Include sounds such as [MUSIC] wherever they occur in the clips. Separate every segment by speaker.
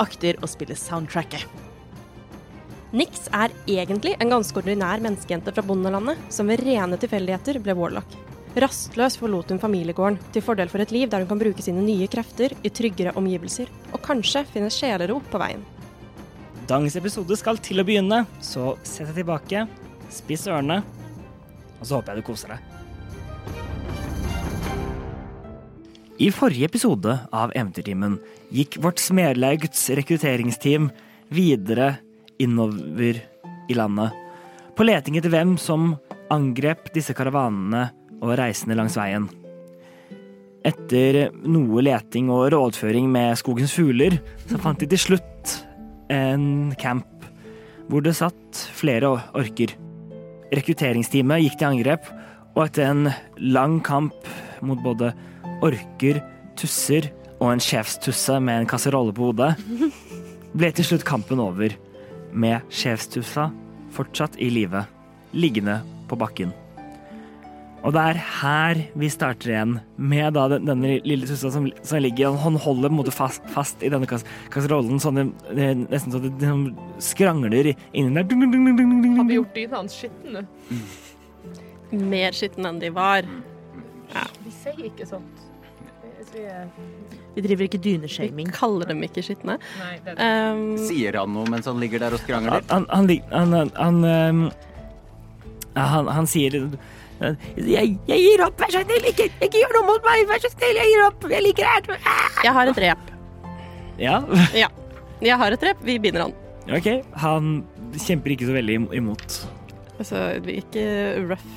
Speaker 1: akter å spille soundtracket.
Speaker 2: Nix er egentlig en ganske ordinær menneskejente fra bondelandet, som ved rene tilfeldigheter ble warlock. Rastløs forlot hun familiegården, til fordel for et liv der hun kan bruke sine nye krefter i tryggere omgivelser, og kanskje finne sjelero på veien.
Speaker 3: Dagens episode skal til å begynne, så sett deg tilbake, spiss ørene, og så håper jeg du koser deg. I forrige episode av Eventyrtimen gikk vårt Smedlaugs rekrutteringsteam videre innover i landet, på leting etter hvem som angrep disse karavanene og reisende langs veien. Etter noe leting og rådføring med skogens fugler, så fant de til slutt en camp hvor det satt flere orker. Rekrutteringsteamet gikk til angrep, og etter en lang kamp mot både orker, tusser og en sjefstusse med en kasserolle på hodet, ble til slutt kampen over, med sjefstussa fortsatt i live, liggende på bakken. Og det er her vi starter igjen, med da den- denne lille tussa som, som ligger Han holder på en måte fast, fast i denne kas kasserollen, sånn det, det er nesten sånn at det det skrangler inni der. Dung, dung, dung, dung, dung, dung,
Speaker 4: Har
Speaker 3: dung.
Speaker 4: vi gjort dyna hans skitne?
Speaker 2: Mer skitten enn de var.
Speaker 4: Mm. Vi sier ikke sånt.
Speaker 1: Vi driver ikke dyneshaming.
Speaker 2: Kaller dem ikke skitne.
Speaker 4: Nei, det er
Speaker 2: Um,
Speaker 5: Sier han noe mens han ligger der og
Speaker 3: Han
Speaker 5: skrangler?
Speaker 3: han, han, lik- han, han, han, ehm, han, han sier eh, jeg, jeg gir opp, vær så snill, ikke, ikke gjør noe mot meg, vær så snill, jeg gir opp, jeg liker det her.
Speaker 2: jeg har et rep.
Speaker 3: Ja, [LAUGHS]
Speaker 2: Ja. Jeg har et rep. Vi binder han.
Speaker 3: ok, han kjemper ikke så veldig im- imot.
Speaker 2: Altså, vi er ikke rough,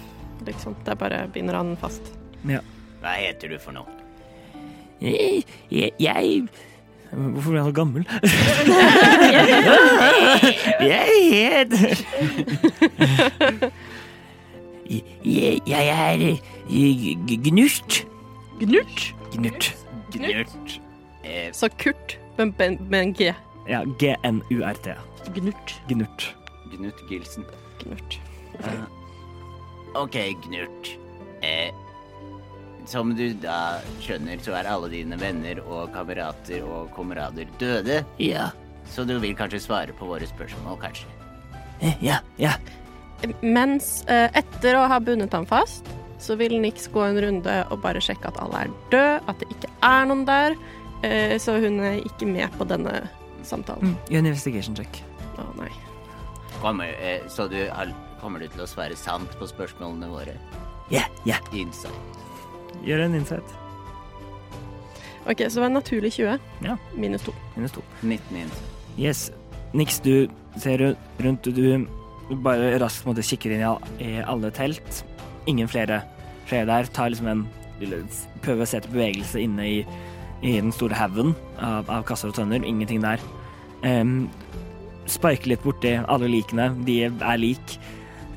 Speaker 2: liksom. Det er bare binder han fast.
Speaker 5: Hva heter du for noe?
Speaker 3: Jeg, jeg, Hvorfor ble han så gammel? [LAUGHS] jeg heter [LAUGHS] jeg, jeg er eh, g- Gnurt.
Speaker 2: Gnurt.
Speaker 3: Gnurt.
Speaker 5: Gnurt.
Speaker 2: Så Kurt, men, men, men G.
Speaker 3: Ja, G-N-U-R-T.
Speaker 1: Gnurt.
Speaker 3: Gnurt.
Speaker 5: Gnut Gilsen. Eh,
Speaker 2: Gnurt.
Speaker 5: Ok, Gnurt. Eh, som du da skjønner, så er alle dine venner og kamerater og kamerader døde.
Speaker 3: Ja.
Speaker 5: Så du vil kanskje svare på våre spørsmål, kanskje?
Speaker 3: Eh, Ja, ja.
Speaker 2: Mens eh, etter å ha bundet ham fast, så vil Nix gå en runde og bare sjekke at alle er døde, at det ikke er noen der. Eh, så hun er ikke med på denne
Speaker 3: Mm.
Speaker 2: samtalen.
Speaker 3: Investigation check.
Speaker 1: Mm.
Speaker 2: Å nei.
Speaker 5: Kommer, eh, så du har, kommer du til å svare sant på spørsmålene våre?
Speaker 3: Ja, ja.
Speaker 5: Insight.
Speaker 3: Gjør en insight.
Speaker 2: OK, så det var en naturlig 20.
Speaker 3: Ja.
Speaker 2: Minus 2.
Speaker 3: Minus to.
Speaker 5: 19 insight.
Speaker 3: Yes. Nix, du ser ru- rundt, og du bare raskt måtte kikke inn i al- i alle telt. Ingen flere flere der. Tar liksom en lille- Prøver å se etter bevegelse inne i, i den store haugen av, av kasser og tønner. Ingenting der. Um, sparker litt borti alle likene. De er lik.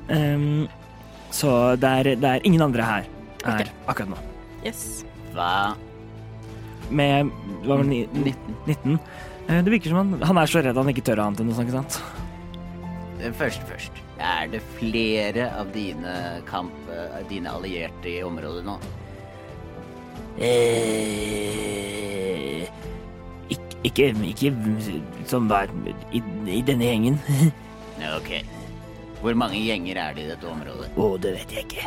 Speaker 3: Ehm, så det er, det er ingen andre her er
Speaker 2: Ok.
Speaker 3: akkurat nå.
Speaker 2: Yes.
Speaker 5: Hva?
Speaker 3: med hva var det, ni- 19.
Speaker 5: 19.
Speaker 3: Eh, Det virker som han, han er så redd han ikke tør annet enn noe sånt, ikke sant?
Speaker 5: Eh, Først først. Er det flere av dine kamp... eh, dine allierte i området nå?
Speaker 3: ikke, Eh, ikke, som hver i, denne gjengen. [LAUGHS]
Speaker 5: Ja, Ok. Hvor mange gjenger er det i dette området?
Speaker 3: Å, det vet jeg ikke.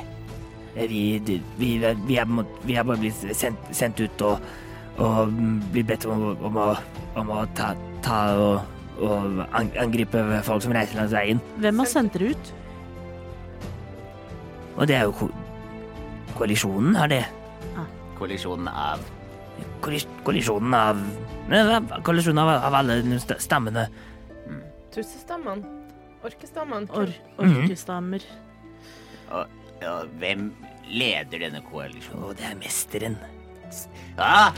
Speaker 3: Eh, Vi, er, bare blitt sendt, ut og, blir bedt om, å, ta, ta og, og an- angripe folk som reiser langs veien.
Speaker 1: Hvem har sendt dere ut?
Speaker 3: Og det er jo ko koalisjonen, har det.
Speaker 6: Kollisjonen av
Speaker 3: Kollis kollisjonen av Nei, det er Kollisjonen av, av alle de sta- stammene.
Speaker 4: Tussestammen. Orkestammen.
Speaker 1: Or orkestammer.
Speaker 6: og, og hvem leder denne koalisjonen?
Speaker 3: Og det er mesteren.
Speaker 6: Ah!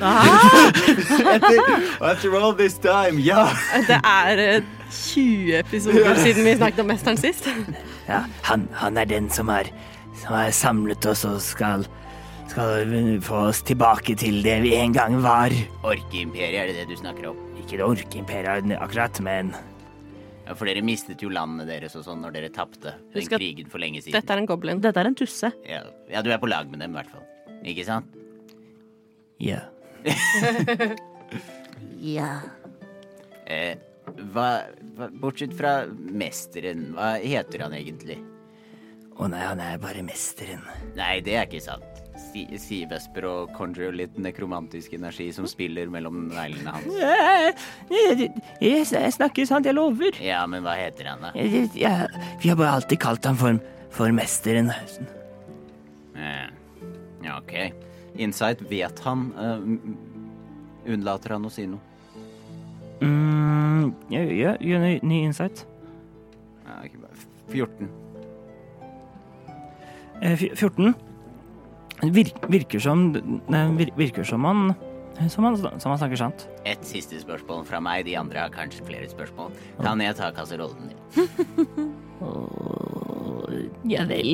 Speaker 6: [LAUGHS] After all this time, ja!
Speaker 2: Det er eh, 20 episoder siden vi snakket om mesteren
Speaker 1: [LAUGHS]
Speaker 2: sist.
Speaker 3: Ja, han, han er den som har, som har samlet oss og skal, skal få oss tilbake til det vi en gang var.
Speaker 6: Orkeimperiet, er det det du snakker om?
Speaker 3: Ikke det orkeimperiet akkurat, men
Speaker 6: Ja, For dere mistet jo landene deres og sånn når dere tapte den
Speaker 2: Husk at
Speaker 6: krigen for lenge siden.
Speaker 2: Dette er en goblin.
Speaker 1: Dette er en tusse.
Speaker 6: Ja, ja, du er på lag med dem i hvert fall. Ikke sant?
Speaker 3: ja.
Speaker 6: Eh, hva, hva, bortsett fra mesteren, hva heter han egentlig?
Speaker 3: Å nei, han er bare mesteren.
Speaker 6: Nei, det er ikke sant. Si, si Vesper og conjure litt nekromantisk energi som spiller mellom neglene hans.
Speaker 3: Jeg, jeg, jeg snakker sant, jeg lover.
Speaker 6: Ja, men hva heter han, da?
Speaker 3: Jeg, jeg, vi har bare alltid kalt ham for, for mesteren.
Speaker 6: Eh, ja, OK. Insight vet han. eh, m- unnlater han å si noe?
Speaker 3: Mm, ja, ja, gjør ny, ny insight.
Speaker 6: Ja, ikke bare- 14.
Speaker 3: Eh, fj- 14. Vir, virker som nei, vir, Virker som han som han, som han snakker sant.
Speaker 6: Et siste spørsmål fra meg. De andre har kanskje flere spørsmål. Kan jeg ta kasserollen din?
Speaker 3: Ja vel.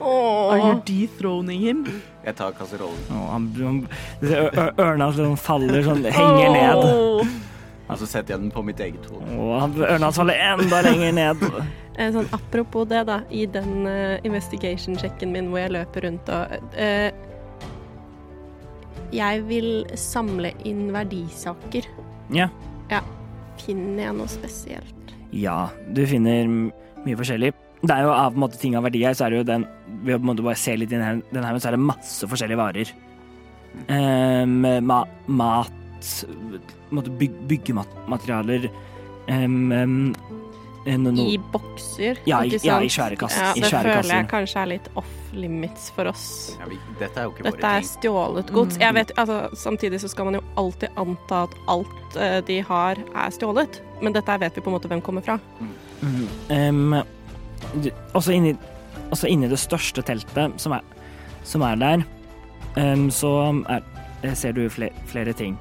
Speaker 1: Are you dethroning him?
Speaker 6: Jeg tar kasserollen.
Speaker 3: han, han, ø- ø- ørna sånn faller sånn, henger ned.
Speaker 1: Åh.
Speaker 6: Og så setter jeg den på mitt eget hode.
Speaker 3: Og han, ørna hans faller enda lenger ned.
Speaker 2: Eh, Sånn, apropos det, da. I den eh, investigation-sjekken min hvor jeg løper rundt og eh, Jeg vil samle inn verdisaker.
Speaker 3: Ja.
Speaker 2: Finner jeg noe spesielt?
Speaker 3: ja, du finner m- mye forskjellig. Det er jo av på en måte, ting av verdi her, så er det jo den Ved å på en måte bare se litt inn i den- den her, men så er det masse forskjellige varer. Em, ma, mat på en måte byg, Byggematerialer. eh, Um,
Speaker 2: I bokser,
Speaker 3: Ja, i-
Speaker 2: ikke
Speaker 3: ja,
Speaker 2: sant?
Speaker 3: i svære kass-
Speaker 2: Ja,
Speaker 3: i
Speaker 2: det
Speaker 3: svære
Speaker 2: føler
Speaker 3: kasser.
Speaker 2: jeg kanskje er litt off limits for oss.
Speaker 6: Ja, vi, dette er jo ikke
Speaker 2: Dette
Speaker 6: våre
Speaker 2: er
Speaker 6: ting.
Speaker 2: stjålet
Speaker 3: Mm.
Speaker 2: gods. Jeg vet, altså, samtidig så skal man jo alltid anta at alt eh, de har, er stjålet. Men dette vet vi på en måte hvem kommer fra.
Speaker 3: Um, du, også, inni, også inni det største teltet som er, som er der, em, så er, eh, ser du fle, flere ting.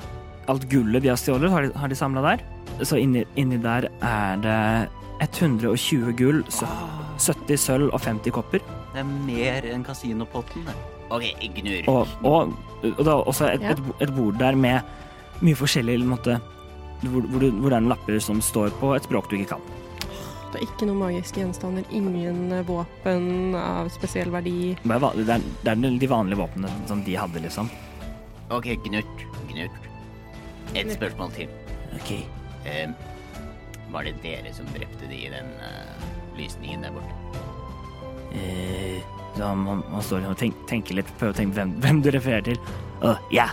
Speaker 3: Alt gullet de har stjålet, har de, har de samla der. Så inni, inni der er det 120 gull, sø- 70 sølv og 50 kopper.
Speaker 6: Det er mer enn kasinopotten. det. OK, gnurr.
Speaker 3: Og, og, og det er også et,
Speaker 2: Ja.
Speaker 3: et, bo- et bord der med mye forskjellig på en måte, hvor, hvor, du- hvor det er noen lapper som står på et språk du ikke kan.
Speaker 2: Det er ikke noen magiske gjenstander, ingen eh, våpen av spesiell verdi.
Speaker 3: Det er, van- det er, det er de vanlige våpnene som de hadde, liksom.
Speaker 6: OK, gnurt. Gnurt. Et spørsmål til.
Speaker 3: Ok.
Speaker 6: Eh, var det dere som drepte de i den eh, lysningen der borte?
Speaker 3: Eh, da man, man står liksom og tenk, tenker litt, prøver å tenke hvem, [LAUGHS] hvem du refererer til. Å, ja.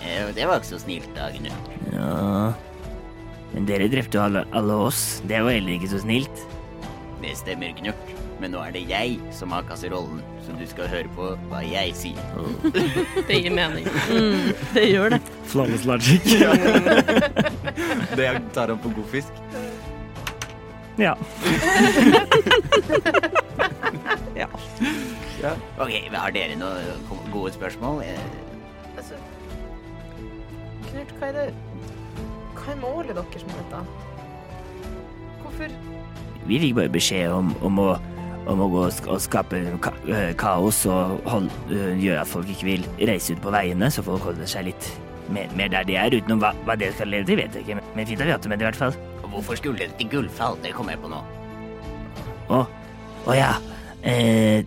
Speaker 6: Eh, det var ikke så snilt, da, gnurt.
Speaker 3: ja. Men dere drepte jo alle, alle oss. Det var heller ikke så snilt.
Speaker 6: Det stemmer, gnurt. Men nå er det jeg som har kasserollen, så du skal høre på hva jeg sier.
Speaker 2: Det gir mening.
Speaker 1: Det gjør det.
Speaker 3: Flawless logic.
Speaker 6: Det jeg tar opp på god fisk.
Speaker 3: [LAUGHS] ja.
Speaker 6: OK, har dere noen gode spørsmål? Eh,
Speaker 4: Altså, Knut, hva er det Hva er målet deres med dette? Hvorfor
Speaker 3: Vi fikk bare beskjed om, om, å, om å gå og sk- og skape ka eh, kaos og hold, eh, gjøre at folk ikke vil reise ut på veiene, så folk holder seg litt mer, mer der de er. Utenom hva, hva det skal lede til, vet jeg ikke. Men- Men fint at vi har hatt det med det, i hvert fall.
Speaker 6: Hvorfor skulle dere til Gullfall? Det kom jeg på nå.
Speaker 3: Å, å ja. Eh,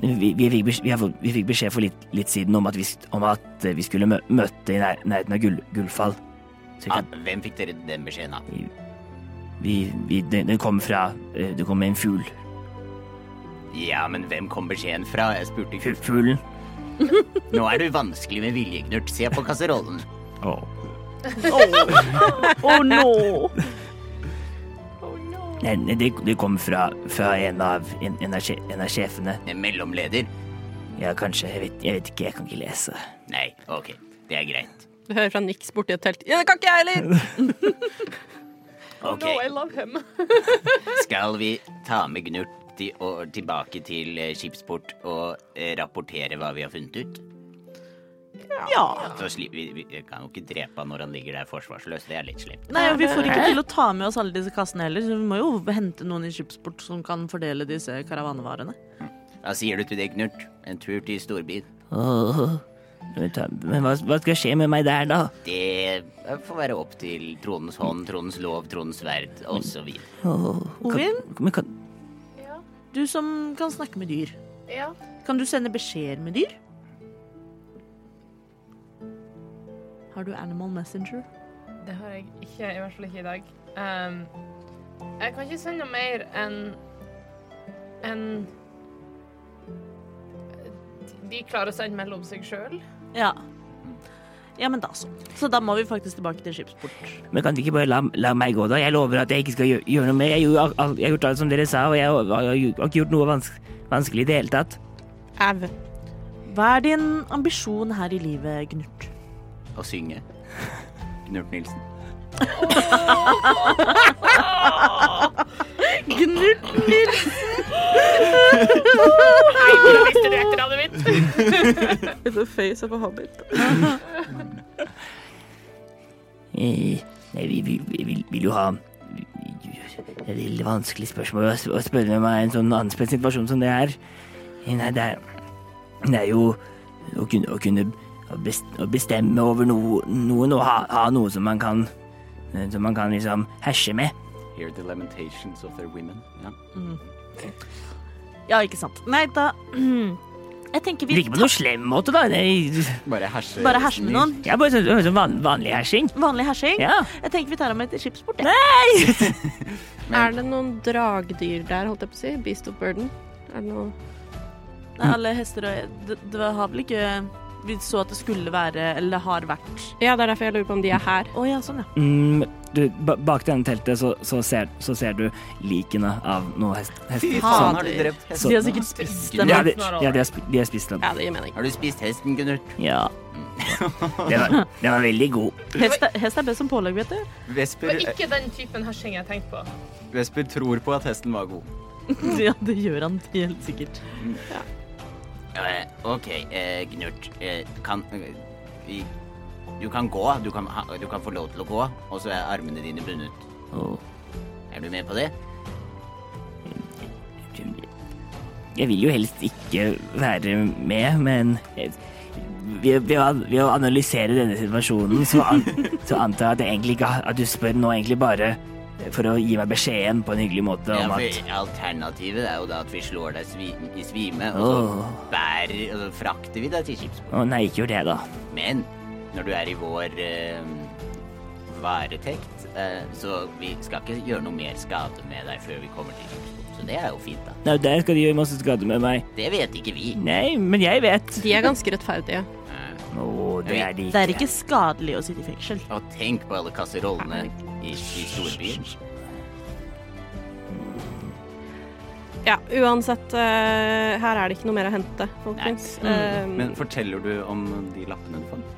Speaker 3: vi, vi, fikk beskjed, vi, har fått, vi fikk beskjed for litt, litt siden om at vi, sk- om at eh, vi skulle mø, møte i nær, nærheten av gull, Gullfall. Så vi
Speaker 6: Ah,
Speaker 3: kan,
Speaker 6: hvem fikk dere den beskjeden av?
Speaker 3: vi, vi, det, det kom fra eh, Det kom en fugl.
Speaker 6: Ja, men hvem kom beskjeden fra? Jeg spurte
Speaker 3: Fu-
Speaker 6: ikke.
Speaker 3: Fuglen.
Speaker 6: Nå er du vanskelig med vilje, Knut. Se på kasserollen.
Speaker 3: Åh.
Speaker 1: Å no!
Speaker 3: Nei, nei, det, det kom fra, fra en, av, en, en, av sje- en av sjefene.
Speaker 6: En mellomleder?
Speaker 3: Ja, kanskje. Jeg vet, jeg vet ikke. Jeg kan ikke lese.
Speaker 6: Nei, ok. Det er greit.
Speaker 2: Du hører fra Nix borti et telt. Ja, det kan ikke jeg heller!
Speaker 6: Ok,
Speaker 4: No, I love him.
Speaker 6: skal vi ta med Gnurt i- og tilbake til eh, skipsport og eh, rapportere hva vi har funnet ut?
Speaker 1: Ja.
Speaker 6: Så sli, vi, vi jeg kan jo ikke drepe han når han ligger der forsvarsløs. Det er litt slemt.
Speaker 1: Nei, og vi får ikke til å ta med oss alle disse kassene heller, så vi må jo hente noen i skipsport som kan fordele disse karavanevarene.
Speaker 6: Hva sier du til det, Knurt? En tur til storbyen?
Speaker 3: Åh. Men ta- Men hva, hva skal skje med meg der, da?
Speaker 6: Det eh, får være opp til tronens hånd, tronens lov, tronens sverd osv.
Speaker 3: Åh.
Speaker 1: Ovin?
Speaker 3: Kan, men kan,
Speaker 4: Ja.
Speaker 1: Du som kan snakke med dyr,
Speaker 4: ja.
Speaker 1: kan du sende beskjeder med dyr? Har du Animal Messenger?
Speaker 4: Det har jeg ikke, i hvert fall ikke i dag. Ehm, jeg kan ikke sende noe mer enn enn de klarer å sende mellom seg sjøl.
Speaker 1: Ja. Ja, men da så. Så da må vi faktisk tilbake til skipsport.
Speaker 3: men kan de ikke bare la, la meg gå, da? Jeg lover at jeg ikke skal gjøre, gjøre noe mer. Jeg, gjorde al- al- jeg har gjort alt som dere sa, og jeg har, har ikke gjort noe vans, vanskelig i det hele tatt.
Speaker 2: Au.
Speaker 1: Hva er din ambisjon her i livet, Gnurt?
Speaker 6: Å synge. Knurt Nilsen.
Speaker 1: Gnurt Nils!
Speaker 4: Visste du etternavnet mitt?
Speaker 2: In the face of a hobbit.
Speaker 3: Eh, Nei, vi, vi, vi vil, vil jo ha Det er et vanskelig spørsmål å sp- å spørre meg i en sånn anspent situasjon som det er. Nei, det er, det er jo å kunne, å kunne best- å bestemme over noe, noen og ha, ha noe som man kan Som man kan liksom herse med.
Speaker 6: Hear the lamentations of their women. Ja.
Speaker 1: Ja, ikke sant. Nei, da [CLEARS THROAT] Jeg tenker vi
Speaker 3: Ikke på noen slem måte, da. Det er,
Speaker 6: Bare herse.
Speaker 1: bare herser med noen.
Speaker 3: ja, bare sånn, sånn van, vanlig hersing.
Speaker 1: Vanlig hersing.
Speaker 3: Ja.
Speaker 1: Jeg tenker vi tar ham med til skipsport. jeg.
Speaker 2: Er det noen dragdyr der, holdt jeg på å si? Beast of burden? Er det noe
Speaker 1: Nei, alle hester og det, det har vel ikke Vi så at det skulle være, eller har vært
Speaker 2: Ja, det er derfor jeg lurer på om de er her.
Speaker 1: Å ja, sånn, ja.
Speaker 3: Mm, du, ba- bak denne teltet så, så, ser, så ser du likene av noen hest, hester.
Speaker 6: Faen, Sånn har du drept
Speaker 3: Så-
Speaker 6: hesten?
Speaker 1: De har sikkert spist
Speaker 3: Ja,
Speaker 1: dem.
Speaker 3: de, ja, de har sp- de har spist den.
Speaker 2: Ja, det gir mening.
Speaker 6: Har du spist hesten, Gnurt?
Speaker 3: Ja. Den var, den var veldig god.
Speaker 1: Hest, er- hest er best som pålegg, vet du. [LAUGHS]
Speaker 4: Det
Speaker 5: Vesper, eh,
Speaker 4: var ikke den typen hersing jeg tenkte på.
Speaker 5: Vesper tror på at hesten var god.
Speaker 1: Ja, det gjør han helt sikkert.
Speaker 6: Eh, ok, eh, Gnurt. Eh, kan eh, vi Du kan gå. Du kan, ha, du kan få lov til å gå, og så er armene dine bundet.
Speaker 3: Åh,
Speaker 6: Er du med på det?
Speaker 3: Jeg vil jo helst ikke være med, men jeg- ved, ved, å- ved å analysere denne situasjonen, så, an, så antar jeg at, jeg egentlig ikke, at du spør nå egentlig bare for å gi meg beskjeden på en hyggelig måte
Speaker 6: Ja,
Speaker 3: om at
Speaker 6: for alternativet er jo da at vi slår deg svi i svime, og så
Speaker 3: Åh.
Speaker 6: bærer Og så frakter vi deg til skipsport.
Speaker 3: Å nei, ikke gjør det, da.
Speaker 6: Men når du er i vår eh, varetekt, eh, så vi skal ikke gjøre noe mer skade med deg før vi kommer til skipsport. Så det er jo fint, da.
Speaker 3: Nei, der skal de gjøre masse skade med meg.
Speaker 6: Det vet ikke vi.
Speaker 3: Nei, men jeg vet.
Speaker 2: De er ganske rettferdige.
Speaker 6: Eh,
Speaker 3: Å, det er de
Speaker 1: Det er ikke skadelig å sitte i fengsel.
Speaker 6: og tenk på alle kasserollene i, i storbyen.
Speaker 2: Ja, uansett, eh, her er det ikke noe mer å hente, folkens. Eh,
Speaker 5: Men forteller du om de lappene du fant?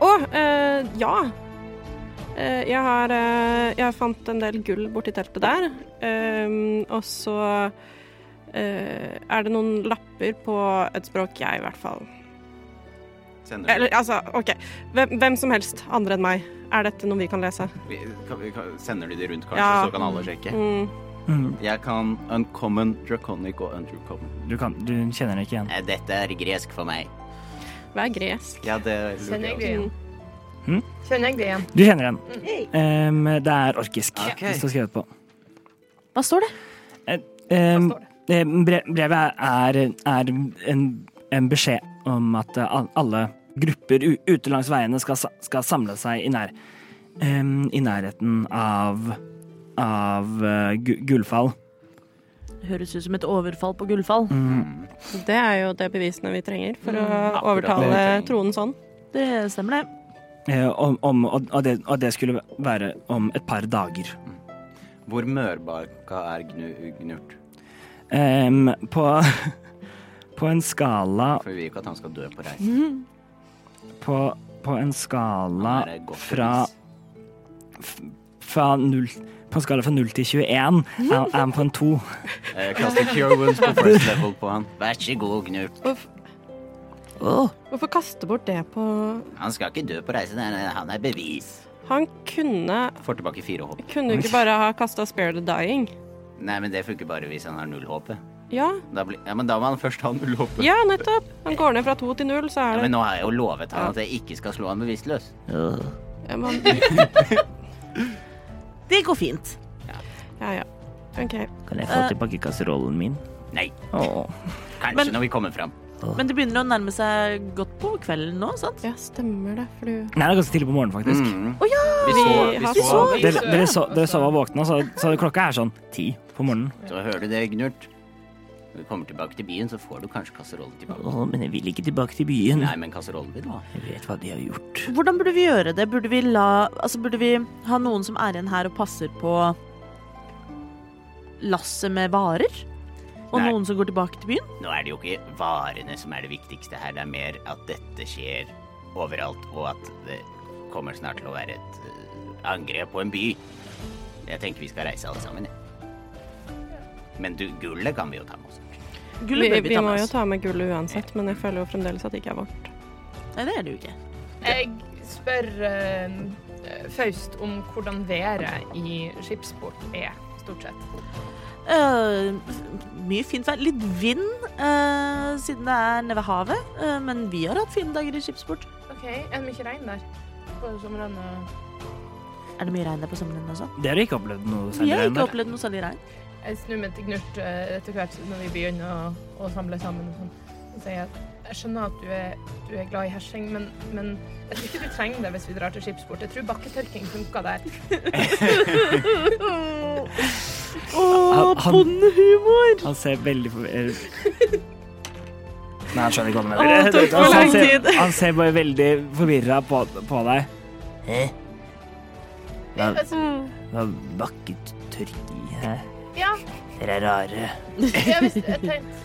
Speaker 2: Å, eh, ja. Eh, jeg har eh, Jeg fant en del gull borti teltet der. Eh, og så eh, er det noen lapper på et språk jeg i hvert fall
Speaker 5: Sender du,
Speaker 2: Eller altså, OK. Hvem, hvem som helst andre enn meg. Er dette noe vi kan lese?
Speaker 5: vi, kan, vi, kan, sender du de rundt, kanskje,
Speaker 2: Ja.
Speaker 5: så kan alle sjekke?
Speaker 2: Mm.
Speaker 3: Mm,
Speaker 5: Jeg kan uncommon, draconic og uncommon.
Speaker 3: du, kan, du kjenner den ikke igjen.
Speaker 6: Eh, Dette er gresk for meg.
Speaker 2: Hva er gresk?
Speaker 5: Ja, det
Speaker 4: Kjenner jeg det
Speaker 5: også.
Speaker 4: igjen?
Speaker 3: Hm?
Speaker 4: Kjenner jeg det igjen?
Speaker 3: Du kjenner den. Em, det er orkisk.
Speaker 5: Ok.
Speaker 3: Det står skrevet på. Eh,
Speaker 1: Hva står det?
Speaker 3: Em,
Speaker 4: Hva står
Speaker 3: em, bre- brevet er, er en, en beskjed om at eh, al- alle grupper u- ute langs veiene skal, sa- skal samle seg i, nær, em, i nærheten av, av eh, Gu- Gullfall.
Speaker 1: høres ut som et overfall på gullfall.
Speaker 2: Det er jo det bevisene vi trenger for
Speaker 5: Mm,
Speaker 2: å
Speaker 5: akkurat det vi
Speaker 2: overtale
Speaker 5: trenger.
Speaker 2: tronen sånn.
Speaker 1: Det stemmer, det.
Speaker 3: Eh, om, om, og, og, det, og det skulle være om et par dager.
Speaker 5: Hvor mørbarka er gnu, Gnurt?
Speaker 3: Em, på, [LAUGHS] på en skala
Speaker 5: For vi vil ikke at han skal dø på reisen.
Speaker 3: På, på en skala
Speaker 5: Han er godt
Speaker 3: fra,
Speaker 5: bevis.
Speaker 3: f, fra null, På en skala fra 0 til 21 er er han på en 2.
Speaker 5: Eh, Kaste cure wounds på first level på han.
Speaker 6: Vær så god, Gnurt.
Speaker 2: Hvorfor kaste bort det på
Speaker 6: Han skal ikke dø på reisen. han- Han er bevis.
Speaker 2: Han kunne
Speaker 5: Får tilbake fire håp.
Speaker 2: Kunne du ikke bare ha kasta Spare the Dying?
Speaker 6: Nei, men det funker bare hvis han har null håp.
Speaker 2: Ja,
Speaker 6: Da blir- Ja, men da må han først ha null håp.
Speaker 2: ja nettopp. Han går ned fra to til null, så
Speaker 6: Ja,
Speaker 2: er det
Speaker 6: men nå har jeg jo lovet han at jeg ikke skal slå han bevisstløs.
Speaker 2: ja, man,
Speaker 1: Det går fint.
Speaker 2: ja, ja. OK.
Speaker 3: Kan jeg få tilbake kasserollen min?
Speaker 6: Nei,
Speaker 3: Eh. Åh.
Speaker 6: kanskje
Speaker 1: Men-
Speaker 6: når vi kommer fram.
Speaker 1: Men det begynner å nærme seg godt på kvelden nå, sant?
Speaker 2: Ja, stemmer det, for du
Speaker 3: Nei, det er ganske tidlig på morgenen, faktisk.
Speaker 6: Mm.
Speaker 2: Vi, har
Speaker 6: vi
Speaker 2: så
Speaker 4: sov.
Speaker 3: Dere, dere, så, dere sov og våkna, så, så klokka er sånn ti på morgenen.
Speaker 6: Så hører du det, Gnurt. Når vi kommer tilbake til byen, så får du kanskje kasserollen tilbake.
Speaker 3: men jeg vil ikke tilbake til byen.
Speaker 6: Nei, men kasserollen vil du ha.
Speaker 3: Jeg vet hva de har gjort.
Speaker 1: Hvordan burde vi gjøre det? Burde vi, la, altså burde vi ha noen som er igjen her og passer på lasset med varer? Og
Speaker 6: Nei.
Speaker 1: noen som går tilbake til byen?
Speaker 6: Nå er det jo ikke varene som er det viktigste her, det er mer at dette skjer overalt, og at det kommer snart til å være et eh, angrep på en by. Jeg tenker vi skal reise alle sammen, jeg. Men du, gullet kan vi jo ta med oss.
Speaker 1: Gullet
Speaker 2: vi,
Speaker 1: bør vi
Speaker 2: vi
Speaker 1: ta
Speaker 2: må
Speaker 1: med
Speaker 2: jo
Speaker 1: oss.
Speaker 2: ta med gullet uansett, men jeg føler jo fremdeles at det ikke er vårt.
Speaker 1: Nei, det er det jo ikke.
Speaker 4: Jeg spør eh, Faust om hvordan været i skipsport er, stort sett.
Speaker 1: Eh, f- mye fint vær. Litt vind, eh, siden det er nede ved havet. eh, men vi har hatt fine dager i skipsport.
Speaker 4: OK, er det mye regn der? På sommeren og
Speaker 1: Er det mye regn der på sommeren også?
Speaker 3: Dere har ikke opplevd noe
Speaker 1: Vi har
Speaker 3: særlig
Speaker 1: ikke opplevd noe særlig regn.
Speaker 4: Jeg snur meg til Gnurt eh, etter hvert når vi begynner å, å samle sammen. Og sånn. Så sier jeg at jeg skjønner at du er, du er glad i hersing, men, men jeg tror ikke du trenger det hvis vi drar til skipsport. Jeg tror bakketørking funker der.
Speaker 3: Han-
Speaker 1: Åh,
Speaker 3: han-
Speaker 1: bondehumor!
Speaker 3: Han ser veldig for... eh. er- Nei, han skjønner ikke hva du mener.
Speaker 1: Å, det tok for
Speaker 3: Han
Speaker 1: lang
Speaker 3: ser-
Speaker 1: tid.
Speaker 3: Han ser bare veldig forvirra på, på deg. Hæ? Hva vakket tørki her?
Speaker 4: Ja,
Speaker 3: Dere er rare.
Speaker 4: jeg visste jeg tenkte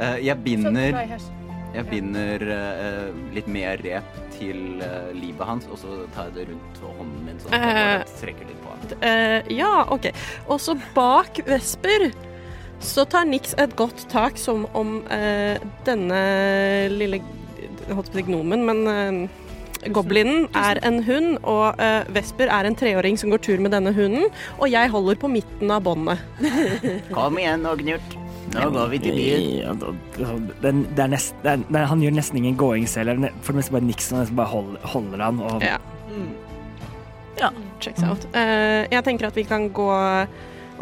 Speaker 5: Eh, jeg
Speaker 4: sånn
Speaker 5: binder,
Speaker 4: glad i hersing.
Speaker 5: jeg binder eh, litt mer rep til eh, livet hans, og så tar jeg det rundt hånden min, sånn at jeg
Speaker 2: Eh.
Speaker 5: bare trekker litt på han.
Speaker 2: Eh, ja, OK. Og så bak Vesper så tar Nix et godt tak som om eh, denne lille jeg holdt på å si gnomen, men eh, goblinen er en hund, og eh, Vesper er en treåring som går tur med denne hunden, og jeg holder på midten av båndet.
Speaker 6: Kom igjen nå, Gnurt. Nå går vi til byen.
Speaker 3: Ja, da- da- Den, det er nest, det er, det er, han gjør nesten ingen going selv. Det er For det meste bare Nixon nesten bare hold, holder han. Og,
Speaker 2: Ja. Mm.
Speaker 1: Ja.
Speaker 2: Checks out. Eh, jeg tenker at vi kan gå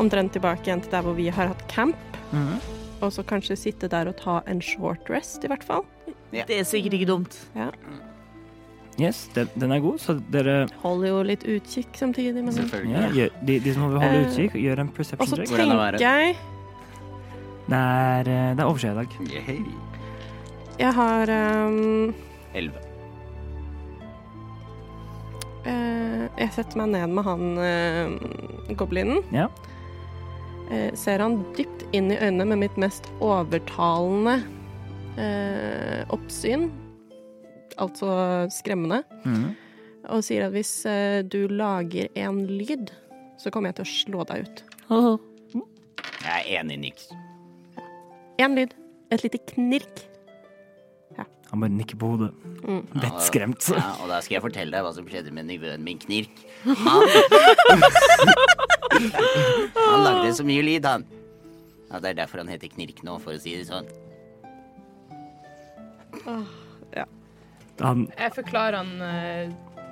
Speaker 2: omtrent tilbake igjen til der hvor vi har hatt camp.
Speaker 3: Mhm.
Speaker 2: Og så kanskje sitte der og ta en short rest, i hvert fall.
Speaker 1: Det er sikkert ikke dumt.
Speaker 3: Yes, den, den er god, så dere
Speaker 2: Holder jo litt utkikk samtidig. Men...
Speaker 3: ja,
Speaker 5: Selvfølgelig.
Speaker 3: gjør, de, de som vil holde
Speaker 2: Eh,
Speaker 3: utkikk, gjør en
Speaker 2: Og så
Speaker 3: perception check.
Speaker 5: Hvordan er
Speaker 2: tenker
Speaker 5: været?
Speaker 2: jeg
Speaker 3: Det er, eh, det er overskya i dag.
Speaker 5: Yay.
Speaker 2: Jeg har ehm,
Speaker 5: Elleve.
Speaker 2: eh, Jeg setter meg ned med han eh, goblinen.
Speaker 3: Ja.
Speaker 2: Eh, ser han dypt inn i øynene med mitt mest overtalende eh, oppsyn. Altså skremmende.
Speaker 3: Mhm.
Speaker 2: Og sier at hvis eh, du lager en lyd, så kommer jeg til å slå deg ut.
Speaker 6: Jeg er enig, Nix.
Speaker 2: Én lyd. Et lite knirk.
Speaker 3: Han bare nikker på hodet.
Speaker 1: Mm.
Speaker 3: Vettskremt.
Speaker 6: Ja, og da skal jeg fortelle deg hva som skjedde med nivåen min, Knirk. Han, han lagde så mye lyd, han. Ja, det er derfor han heter Knirk nå, for å si det sånn.
Speaker 3: Han,
Speaker 4: Jeg forklarer han eh,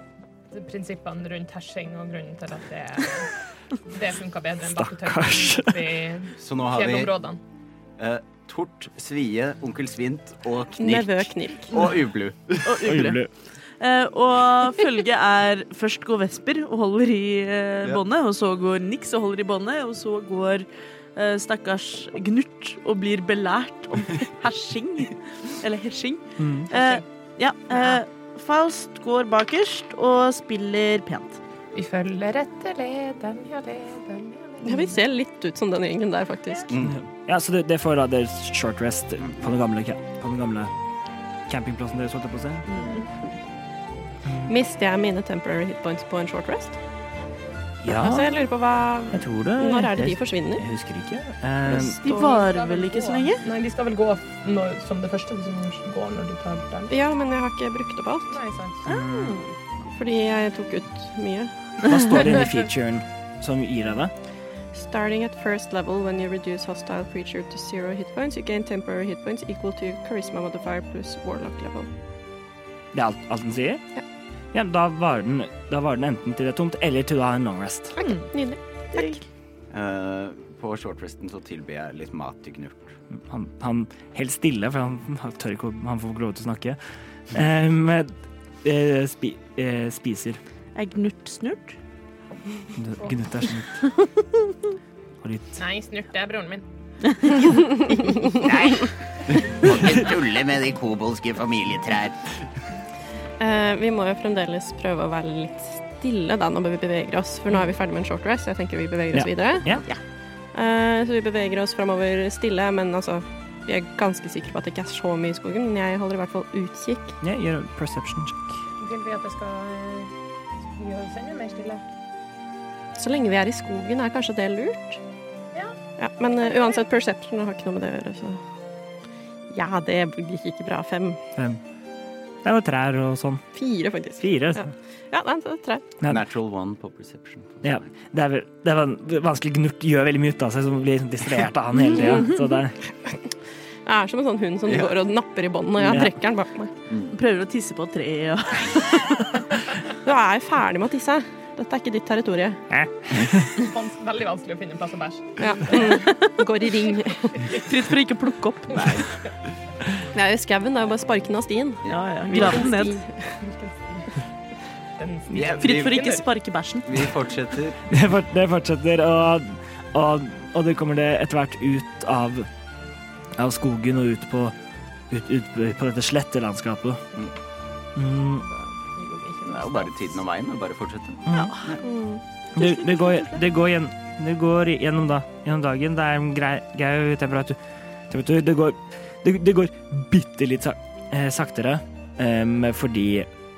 Speaker 4: prinsippene rundt hersing og grunnen til at det, det funker bedre enn
Speaker 3: Stakkars.
Speaker 4: bakketørking i
Speaker 5: Så nå har vi
Speaker 4: fjellområdene.
Speaker 5: eh, Tort, Svie, Onkel Svint og
Speaker 2: Nevø
Speaker 5: Knirk.
Speaker 2: knirk.
Speaker 5: Og Ublu.
Speaker 1: Og
Speaker 3: Oi,
Speaker 1: ugle.
Speaker 3: ble-
Speaker 1: Eh, og følget er først går Vesper og holder i eh,
Speaker 5: Ja.
Speaker 1: båndet, og så går Nix og holder i båndet, og så går eh, stakkars Gnurt og blir belært om [LAUGHS] hersing. Eller hersing.
Speaker 3: Mm.
Speaker 1: Eh, ja. eh, Faust går bakerst og spiller pent.
Speaker 4: Vi følger etter leden, ja, leden, ja, leden.
Speaker 2: Ja, vi ser litt ut som den gjengen der, faktisk.
Speaker 3: Mm. Ja, så det, det får da deres short rest på den gamle, ca- på den gamle campingplassen deres, holdt jeg på å si.
Speaker 2: Mister jeg mine temporary hit points på en short rest?
Speaker 3: Ja,
Speaker 2: Altså, jeg lurer på hva
Speaker 3: jeg tror det.
Speaker 2: Når er det de
Speaker 3: Jeg-
Speaker 2: forsvinner?
Speaker 3: Jeg husker ikke. Eh,
Speaker 1: De varer vel ikke så lenge?
Speaker 4: Nei, de skal vel gå når, som det første som går når du tar den.
Speaker 2: Ja, men jeg har ikke brukt opp alt.
Speaker 4: Nei, sant.
Speaker 2: Fordi jeg tok ut mye.
Speaker 3: hva står det
Speaker 2: [LAUGHS]
Speaker 3: inni featuren som gir deg det?
Speaker 2: Starting at first level, when you reduce hostile creature to zero hit points, you gain temporary hit points equal to charisma modifier pluss warlock level.
Speaker 3: Det er alt, alt den sier? Ja. da, varer den, da varer den enten til det er tomt, eller til du har en long rest.
Speaker 2: Nydelig.
Speaker 5: Eh, på shortresten så tilbyr jeg litt mat til Gnurt.
Speaker 3: Han, han helt stille, for han, han tør ikke å- Han får ikke lov til å snakke. Eh, men eh, spi, eh, spiser.
Speaker 1: Er Gnurt snurt?
Speaker 3: Gnutt er snutt.
Speaker 2: [LAUGHS]
Speaker 3: Og litt
Speaker 4: Nei, snurt, det er broren min.
Speaker 6: Nei! Må ikke tulle med de kobolske familietrær.
Speaker 2: Eh, vi må jo fremdeles prøve å være litt stille da når vi beveger oss, for nå er vi ferdig med en short rest. Jeg tenker vi beveger oss
Speaker 3: Ja.
Speaker 2: videre.
Speaker 3: Ja.
Speaker 2: Eh, så vi beveger oss framover stille, men altså Vi er ganske sikre på at det ikke er så mye i skogen, men jeg holder i hvert fall utkikk.
Speaker 3: ja, Gjør en perception check.
Speaker 4: Vil vi at jeg skal eh, gjøre oss enda mer stille?
Speaker 2: Så lenge vi er i skogen, er kanskje det lurt?
Speaker 4: Ja.
Speaker 2: ja men eh, uansett, perception har ikke noe med det å gjøre, så Ja, det gikk ikke bra. Fem.
Speaker 3: Fem. Det er jo trær og sånn.
Speaker 2: Fire, faktisk.
Speaker 3: Fire.
Speaker 2: Ja. Ja, nei, det er tre.
Speaker 3: Ja.
Speaker 5: Natural one på perception.
Speaker 3: Ja. Det, er, vel- det er van- vanskelig. Gnurt gjør veldig mye ut av seg, som blir sånn distrahert av han hele tida. Så det
Speaker 2: Jeg er som en sånn hund som går og napper i båndet, og jeg
Speaker 3: Ja.
Speaker 2: trekker den bak meg.
Speaker 1: Prøver å tisse på treet og [LAUGHS]
Speaker 2: Du er jeg ferdig med å tisse. Dette er ikke ditt territorium.
Speaker 4: Vans veldig vanskelig å finne en plass å bæsje.
Speaker 2: Ja. Mm. Går i ring.
Speaker 1: Fritt for å ikke plukke opp.
Speaker 2: Det er jo skauen, det er jo bare sparken av stien.
Speaker 1: Ja, ja. Grav den ned.
Speaker 4: Den
Speaker 5: Ja,
Speaker 1: Fritt for å
Speaker 5: vi,
Speaker 1: ikke sparke bæsjen.
Speaker 5: vi fortsetter.
Speaker 3: Det fort- det fortsetter, og, og, og det kommer det etter hvert ut av, av skogen og ut på, ut, ut på dette slettelandskapet. Mm.
Speaker 5: Det er jo bare tiden og veien. men Bare fortsette.
Speaker 3: Det, det, går, det, går igjen, det går gjennom, da, gjennom dagen. Det er en grei, grei temperatur. temperatur. Det går, det, det går bitte litt sak, eh, saktere em, fordi,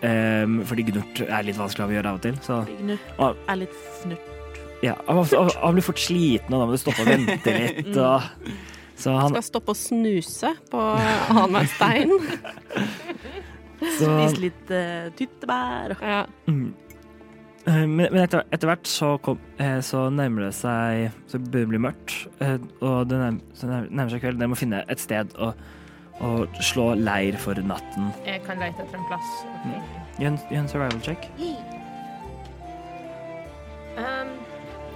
Speaker 3: em, fordi gnurt er litt vanskelig å avgjøre av og til. Så
Speaker 1: Gnurt er litt fnurt.
Speaker 3: ja, han, han, han blir fort sliten, og da må du stoppe og vente litt. Og, så han,
Speaker 2: Skal stoppe og snuse på annenhver stein.
Speaker 3: så,
Speaker 1: Spise litt eh, tyttebær. og-
Speaker 2: Ja.
Speaker 3: Mm. Eh, Men, men etter, etter hvert så, kom, eh, så nærmer det seg Så begynner det å bli mørkt, eh, og det nærmer, så nærmer nærmer seg kveld. Dere må finne et sted å, å slå leir for natten.
Speaker 4: Jeg kan lete etter en plass. Okay.
Speaker 3: Gjør en, gjør en survival check.
Speaker 4: Um,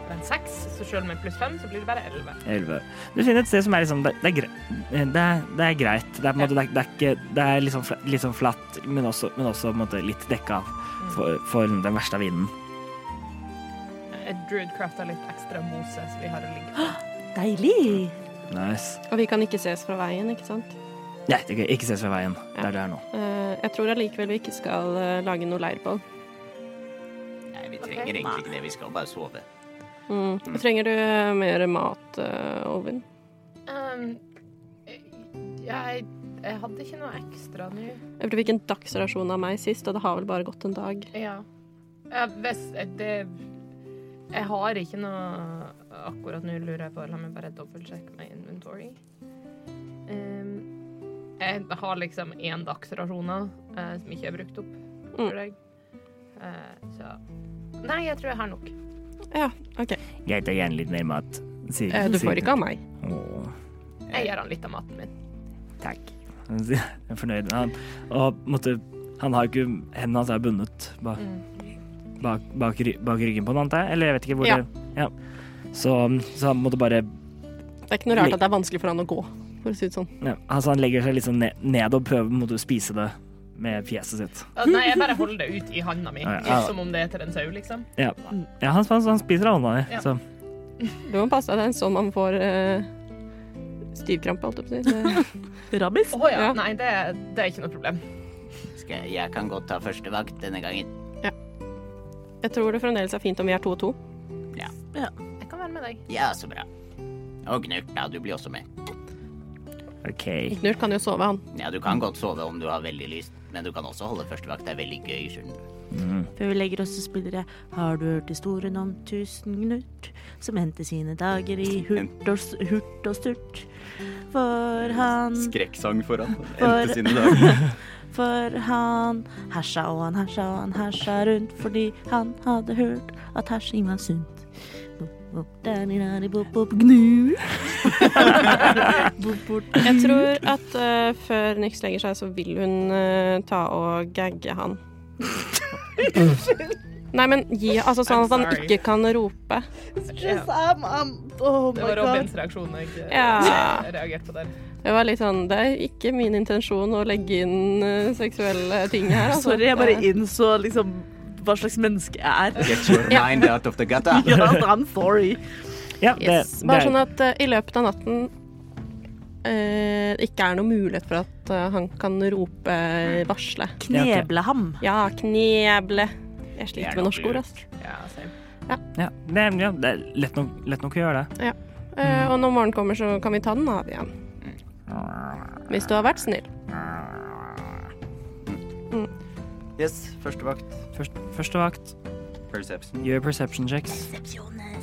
Speaker 4: det er en seks, så selv med pluss fem, så blir det bare elleve.
Speaker 3: 11. Du finner et sted som er liksom Det, det, er, gre- eh, det, er, det er greit. Det er på en måte Det er, det er, ikke, det er litt sånn fla- litt sånn flatt, men også, men også på en måte litt dekka av for,
Speaker 2: Mm.
Speaker 3: for den verste av vinden.
Speaker 4: Jeg druidcrafta litt ekstra mose, så vi har å ligge på.
Speaker 1: Deilig!
Speaker 3: Nice.
Speaker 2: Og vi kan ikke ses fra veien, ikke sant?
Speaker 3: Nei, det kan ikke ses fra veien. Det er der nå.
Speaker 2: Eh, Jeg tror allikevel vi ikke skal eh, lage noe leirbål.
Speaker 6: Nei, vi trenger egentlig ikke det. Vi skal bare sove.
Speaker 2: Mm. Trenger du eh, mer mat, eh, Ovin?
Speaker 4: Um, jeg, jeg hadde ikke noe ekstra nå.
Speaker 2: Jeg tror du fikk en dagsrasjon av meg sist, og det har vel bare gått en dag.
Speaker 4: Ja. Jeg, hvis, eh, det, jeg har ikke noe akkurat nå, lurer jeg på. La meg bare dobbeltsjekke my inventory. Um, jeg har liksom én dagsrasjoner eh, som ikke er brukt opp, tror jeg. Eh, så Nei, jeg tror jeg har nok.
Speaker 2: Ja, OK.
Speaker 3: Jeg tar gjerne litt mer mat. sier-
Speaker 2: Eh, Du
Speaker 3: sier-
Speaker 2: får ikke av meg.
Speaker 3: Åh.
Speaker 4: Jeg gir han litt av maten min.
Speaker 3: Takk. Han sier- Jeg er fornøyd. Han, og måtte, han har jo ikke Hendene hans er bundet bak, bak, bak, ry- bak ryggen på han, antar jeg? Eller jeg vet ikke hvor
Speaker 2: Mm. Ja.
Speaker 3: det ja. så, så han måtte bare
Speaker 2: Det er ikke noe rart at det er vanskelig for han å gå, for å si det sånn.
Speaker 3: ja, altså Han legger seg litt sånn ned, ned og prøver på en måte å spise det med fjeset sitt.
Speaker 4: Eh, Nei, jeg bare holder det ut i handa mi,
Speaker 3: Ja, ja.
Speaker 4: som om det er til en sau, liksom.
Speaker 2: Mm.
Speaker 3: Ja, ja han, han, han spiser av hånda di,
Speaker 4: Ja.
Speaker 3: så
Speaker 2: Du må passe deg, det er en sånn man får eh, stivkrampe, holdt jeg på å si. [LAUGHS]
Speaker 1: Rabbis?
Speaker 4: Å ja.
Speaker 2: Ja.
Speaker 4: Nei, det, det er ikke noe problem.
Speaker 6: Skal jeg, jeg kan godt ta første vakt denne gangen.
Speaker 2: Det- Jeg tror det fremdeles er fint om vi er to og to.
Speaker 4: Jeg kan være med deg.
Speaker 6: Ja, så bra. Og Gnurt, da, du blir også med.
Speaker 3: OK.
Speaker 2: Knut kan jo sove, han.
Speaker 6: Ja, du kan godt sove om du har veldig lyst, men du kan også holde første vakt. Det er veldig gøy, skjønner du.
Speaker 1: Før vi legger oss, så spiller jeg Har du hørt historien om tusen Knut som endte sine dager i hurt og, s- hurt og sturt? For han
Speaker 5: Skrekksang foran.
Speaker 1: For-
Speaker 5: Endte sine dager.
Speaker 1: For han hersa og han hersa og han hersa rundt fordi han hadde hørt at hersing var sunt. Bop, bop, da-di-da-di, bop, bop,
Speaker 4: [LAUGHS]
Speaker 1: gnu. Bop, bop.
Speaker 2: Jeg tror at eh, før Nix legger seg, så vil hun eh, ta og gagge
Speaker 6: [LAUGHS]
Speaker 2: han. Nei, men gi Altså sånn at han
Speaker 4: sorry.
Speaker 2: ikke kan rope.
Speaker 4: Ja.
Speaker 1: I'm, I'm, oh
Speaker 4: Det var Robins reaksjon [LAUGHS] jeg eh,
Speaker 2: Ja.
Speaker 4: reagerte på der.
Speaker 2: Det var litt sånn Det er ikke min intensjon å legge inn eh, seksuelle ting her, altså.
Speaker 1: Sorry, jeg bare innså liksom hva slags menneske jeg er.
Speaker 5: Get your mind out of the gutter.
Speaker 1: [LAUGHS] Ja, altså, I'm sorry.
Speaker 3: Ja, det,
Speaker 2: Yes. Bare
Speaker 3: det
Speaker 2: sånn
Speaker 3: er,
Speaker 2: at eh, i løpet av natten eh, det ikke er noe mulighet for at eh, han kan rope varsle.
Speaker 1: [LAUGHS] Kneble ham.
Speaker 2: Ja, kneble. Jeg
Speaker 6: Det er
Speaker 2: sliter med
Speaker 6: nok
Speaker 2: norske ord,
Speaker 6: lurt.
Speaker 2: ass.
Speaker 4: Ja, same.
Speaker 3: ja, det, er- ja, det er lett nok, lett nok å gjøre det.
Speaker 2: Eh, og når morgenen kommer, så kan vi ta den av igjen. Hvis du har vært snill.
Speaker 5: Yes, første vakt.
Speaker 3: Først, første vakt,
Speaker 5: Perception.
Speaker 3: gjør perception checks.
Speaker 5: 12.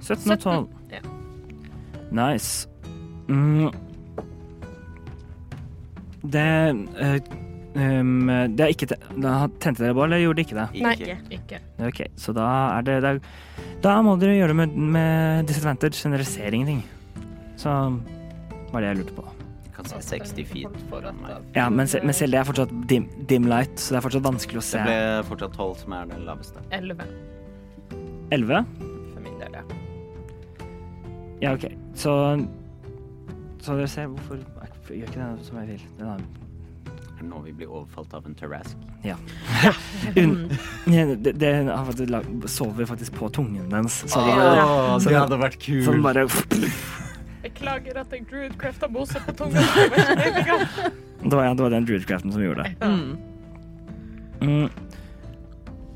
Speaker 3: 17 og 12.
Speaker 4: Ja.
Speaker 3: Nice. Mm. Det eh, um, Det er ikke te da Tente dere på, eller gjorde det ikke det?
Speaker 2: Nei.
Speaker 4: Ikke.
Speaker 3: OK, så da er det Da, da må dere gjøre det med, med disadvantage, siden dere ser ingenting. Så var det jeg lurte på.
Speaker 5: Kan se 60 feet foran meg.
Speaker 3: Ja, men, se- men selv det er fortsatt dim, dim light, så det er fortsatt vanskelig å
Speaker 5: Det
Speaker 3: se.
Speaker 5: ble fortsatt 12 som er det laveste.
Speaker 4: 11
Speaker 3: 11?
Speaker 4: for min del, ja.
Speaker 3: Ja, OK. Så Så dere ser hvorfor jeg gjør ikke det som jeg vil. Det er
Speaker 5: Er det nå vi blir overfalt av en terrask?
Speaker 3: Un det, det, det har faktisk lag- sover faktisk på tungen dens. Så
Speaker 5: Ah.
Speaker 3: de,
Speaker 5: Åh, det hadde vært
Speaker 3: så den
Speaker 5: kult.
Speaker 3: bare
Speaker 4: Beklager at jeg druidcrafta mose på tunga. Det [LAUGHS] var ikke meningen.
Speaker 3: Det var, det var den druidcraften som gjorde det. Mm.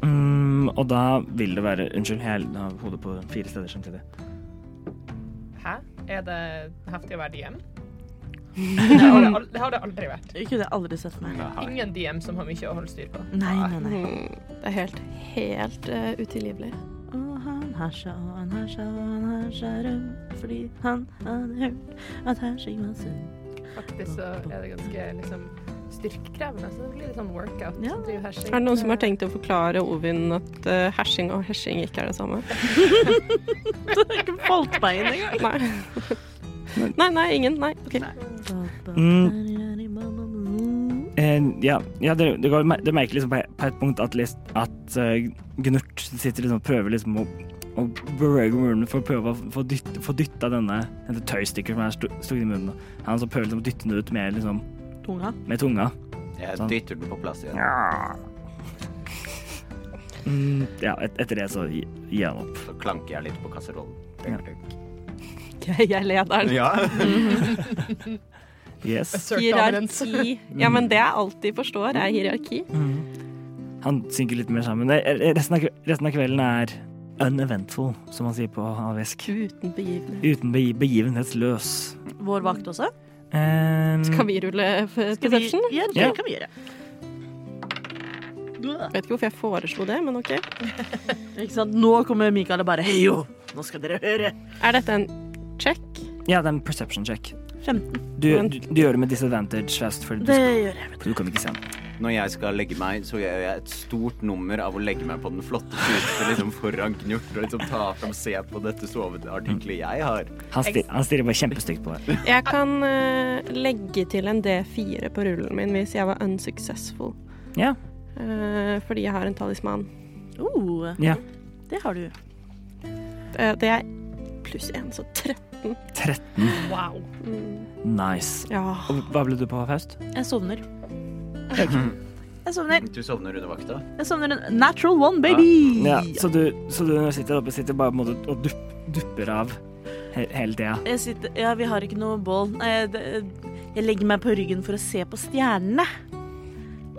Speaker 3: Mm, og da vil det være Unnskyld, jeg har hodet på fire steder samtidig.
Speaker 4: Hæ? Er det heftig å være DM? Det har det, al- det har det aldri vært.
Speaker 1: Det kunne jeg aldri sett for meg.
Speaker 5: Nei.
Speaker 4: Ingen DM som har mye å holde styr på.
Speaker 1: Nei, nei, nei.
Speaker 2: Mm, Det er helt, helt eh, utilgivelig.
Speaker 1: Og han hersa og han hersa og han hersa rundt fordi han hadde hørt at hersing var sunt.
Speaker 4: Faktisk så er det ganske liksom, styrkekrevende. Så det blir litt sånn workout.
Speaker 1: Ja.
Speaker 4: som driver hersing.
Speaker 2: Er det noen som har tenkt å forklare Ovin at eh, hersing og hersing ikke er det samme?
Speaker 1: Det har ikke falt meg inn engang.
Speaker 2: Nei. Nei, nei, ingen. Nei. ok.
Speaker 3: Eh, ja, ja det, det, går, det merker liksom på, på et punkt at, lis- at eh, Gnurt sitter liksom og prøver liksom å å bevege munnen for å prøve å få dytt- få dytta denne dette tøystykket som er stu- stukket i munnen. Han som prøver liksom å dytte den ut med, liksom,
Speaker 1: Tunga.
Speaker 3: med tunga.
Speaker 5: Jeg
Speaker 3: Sånn.
Speaker 5: dytter den på plass igjen.
Speaker 3: Mm, ja, et, etter det så gi- gir han opp.
Speaker 5: Så klanker jeg litt på kasserollen.
Speaker 2: Jeg jeg leder den.
Speaker 5: Ja.
Speaker 3: [LAUGHS] Yes.
Speaker 2: Hierarki. [LAUGHS] Ja, men det jeg alltid forstår, er hierarki.
Speaker 3: Han synker litt mer sammen. Eh, eh, Resten av, kve- resten av kvelden er uneventful, som man sier på havisk.
Speaker 2: Uten begivenhet.
Speaker 3: Uten be begivenhetsløs.
Speaker 1: Vår vakt også.
Speaker 3: Um,
Speaker 2: Skal vi rulle eh,
Speaker 1: Skal vi,
Speaker 2: perception?
Speaker 1: ja, det
Speaker 3: Ja.
Speaker 1: kan vi gjøre.
Speaker 2: Vet ikke hvorfor jeg foreslo det, men OK.
Speaker 1: Ikke sant? Nå kommer Mikael og bare Hei, jo! Nå skal dere høre.
Speaker 2: Er dette en check?
Speaker 3: Ja, det er en perception check.
Speaker 1: 15.
Speaker 3: Du, du, du gjør det med disadvantage først, for du,
Speaker 1: Det gjør jeg.
Speaker 3: du kommer ikke se den.
Speaker 5: Når jeg skal legge meg, så gjør jeg et stort nummer av å legge meg på den flotte puten liksom foran Knurt og liksom ta fram se på dette soveartiklet jeg har.
Speaker 3: Han, stir, han stirrer bare kjempestygt på deg.
Speaker 2: Jeg kan eh, legge til en D4 på rullen min hvis jeg var unsuccessful.
Speaker 3: Ja.
Speaker 2: Eh, fordi jeg har en talisman.
Speaker 1: Oh,
Speaker 3: ja.
Speaker 1: det har du.
Speaker 2: Eh, det er pluss én, så 13.
Speaker 3: 13.
Speaker 4: Wow.
Speaker 3: Nice.
Speaker 2: Ja.
Speaker 3: Og hva ble du på, Faust?
Speaker 1: Jeg sovner. Jeg sovner.
Speaker 6: Du sovner under vakta?
Speaker 1: Jeg sovner en natural one, baby!
Speaker 3: Ja, så, du, så du når du sitter oppe, sitter bare på en måte og dupp, dupper av he hele tida.
Speaker 1: Jeg sitter Ja, vi har ikke noe bål. Nei, det- Jeg legger meg på ryggen for å se på stjernene.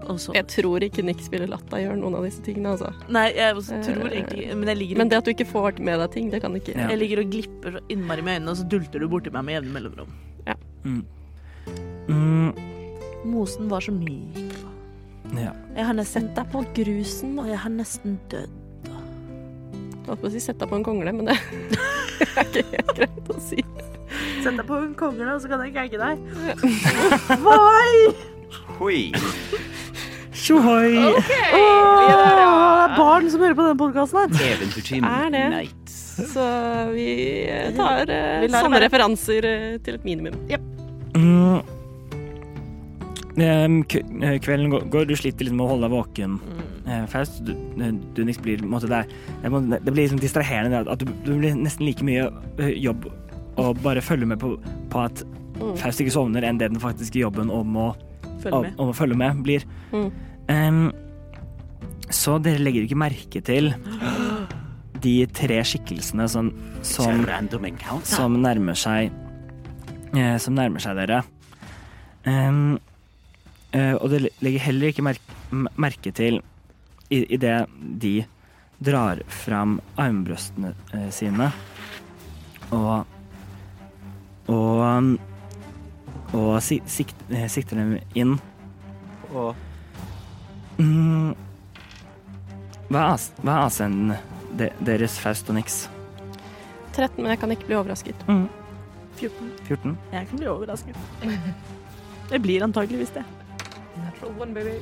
Speaker 1: Og så
Speaker 2: Jeg tror ikke Nick spiller latta gjør noen av disse tingene, altså.
Speaker 1: Nei, jeg også tror egentlig Eh, Men jeg ligger,
Speaker 2: Men det at du ikke får med deg ting, det kan ikke.
Speaker 3: Ja.
Speaker 1: jeg ligger og glipper så innmari med øynene, og så dulter du borti meg med jevne mellomrom.
Speaker 3: Mm,
Speaker 1: Mosen var så myk.
Speaker 3: ja.
Speaker 1: Jeg har nesten
Speaker 2: Sett deg på grusen, da.
Speaker 1: Og jeg har nesten dødd.
Speaker 2: Jeg holdt på å si sett deg på en kongle, men det [LAUGHS] er ikke helt greit å si.
Speaker 1: Sett deg på en kongle, og så kan jeg krenke deg. [LAUGHS] Oi!
Speaker 5: Hoi!
Speaker 3: Tjohoi!
Speaker 1: Åh, det er barn som hører på denne podkasten her.
Speaker 5: Eventyrteam
Speaker 2: Er det?
Speaker 5: Nights.
Speaker 2: Så vi eh, tar eh,
Speaker 1: Vi lar det
Speaker 2: samme
Speaker 1: være.
Speaker 2: referanser eh, til et minimum.
Speaker 3: Mm. Em, k- eh, Kvelden går- går, du sliter litt med å holde deg våken. Eh, Faust, du, eh, du Nix, blir på en måte der. Det må- det blir liksom distraherende det at- at du, du blir nesten like mye eh, jobb å bare følge med på, på at
Speaker 2: Mm.
Speaker 3: Faust ikke sovner, enn det den faktiske jobben om å
Speaker 1: Følg
Speaker 3: om,
Speaker 1: med.
Speaker 3: om å følge med blir.
Speaker 2: Mm.
Speaker 3: Em, så dere legger ikke merke til de tre skikkelsene som, som,
Speaker 6: Random encounter.
Speaker 3: som nærmer seg eh, Som nærmer seg dere. Em, eh, og dere legger heller ikke merke, merke til idet de drar fram armbrøstene eh, sine og og, og si- sikt, eh, sikter dem inn
Speaker 5: Og
Speaker 3: Mm. Hva er, as- hva er AC-en de, deres, Faust og Nix?
Speaker 2: 13, men jeg kan ikke bli overrasket.
Speaker 1: 14.
Speaker 3: 14?
Speaker 1: Jeg kan bli overrasket. Jeg blir antageligvis det.
Speaker 4: Natural one, baby.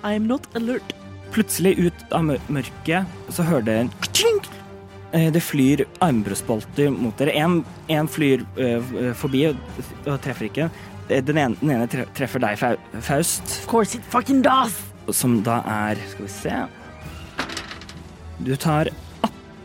Speaker 1: I am not alert.
Speaker 3: Plutselig ut av mør- mørket så hører dere en kling. Eh, Det flyr armbrøstbolter mot dere. En, en flyr eh, f- forbi og, og treffer ikke. Eh, Den ene, den ene tre- treffer deg, Fau- Faust,
Speaker 1: Of course it fucking does!
Speaker 3: som da er Skal vi se Du tar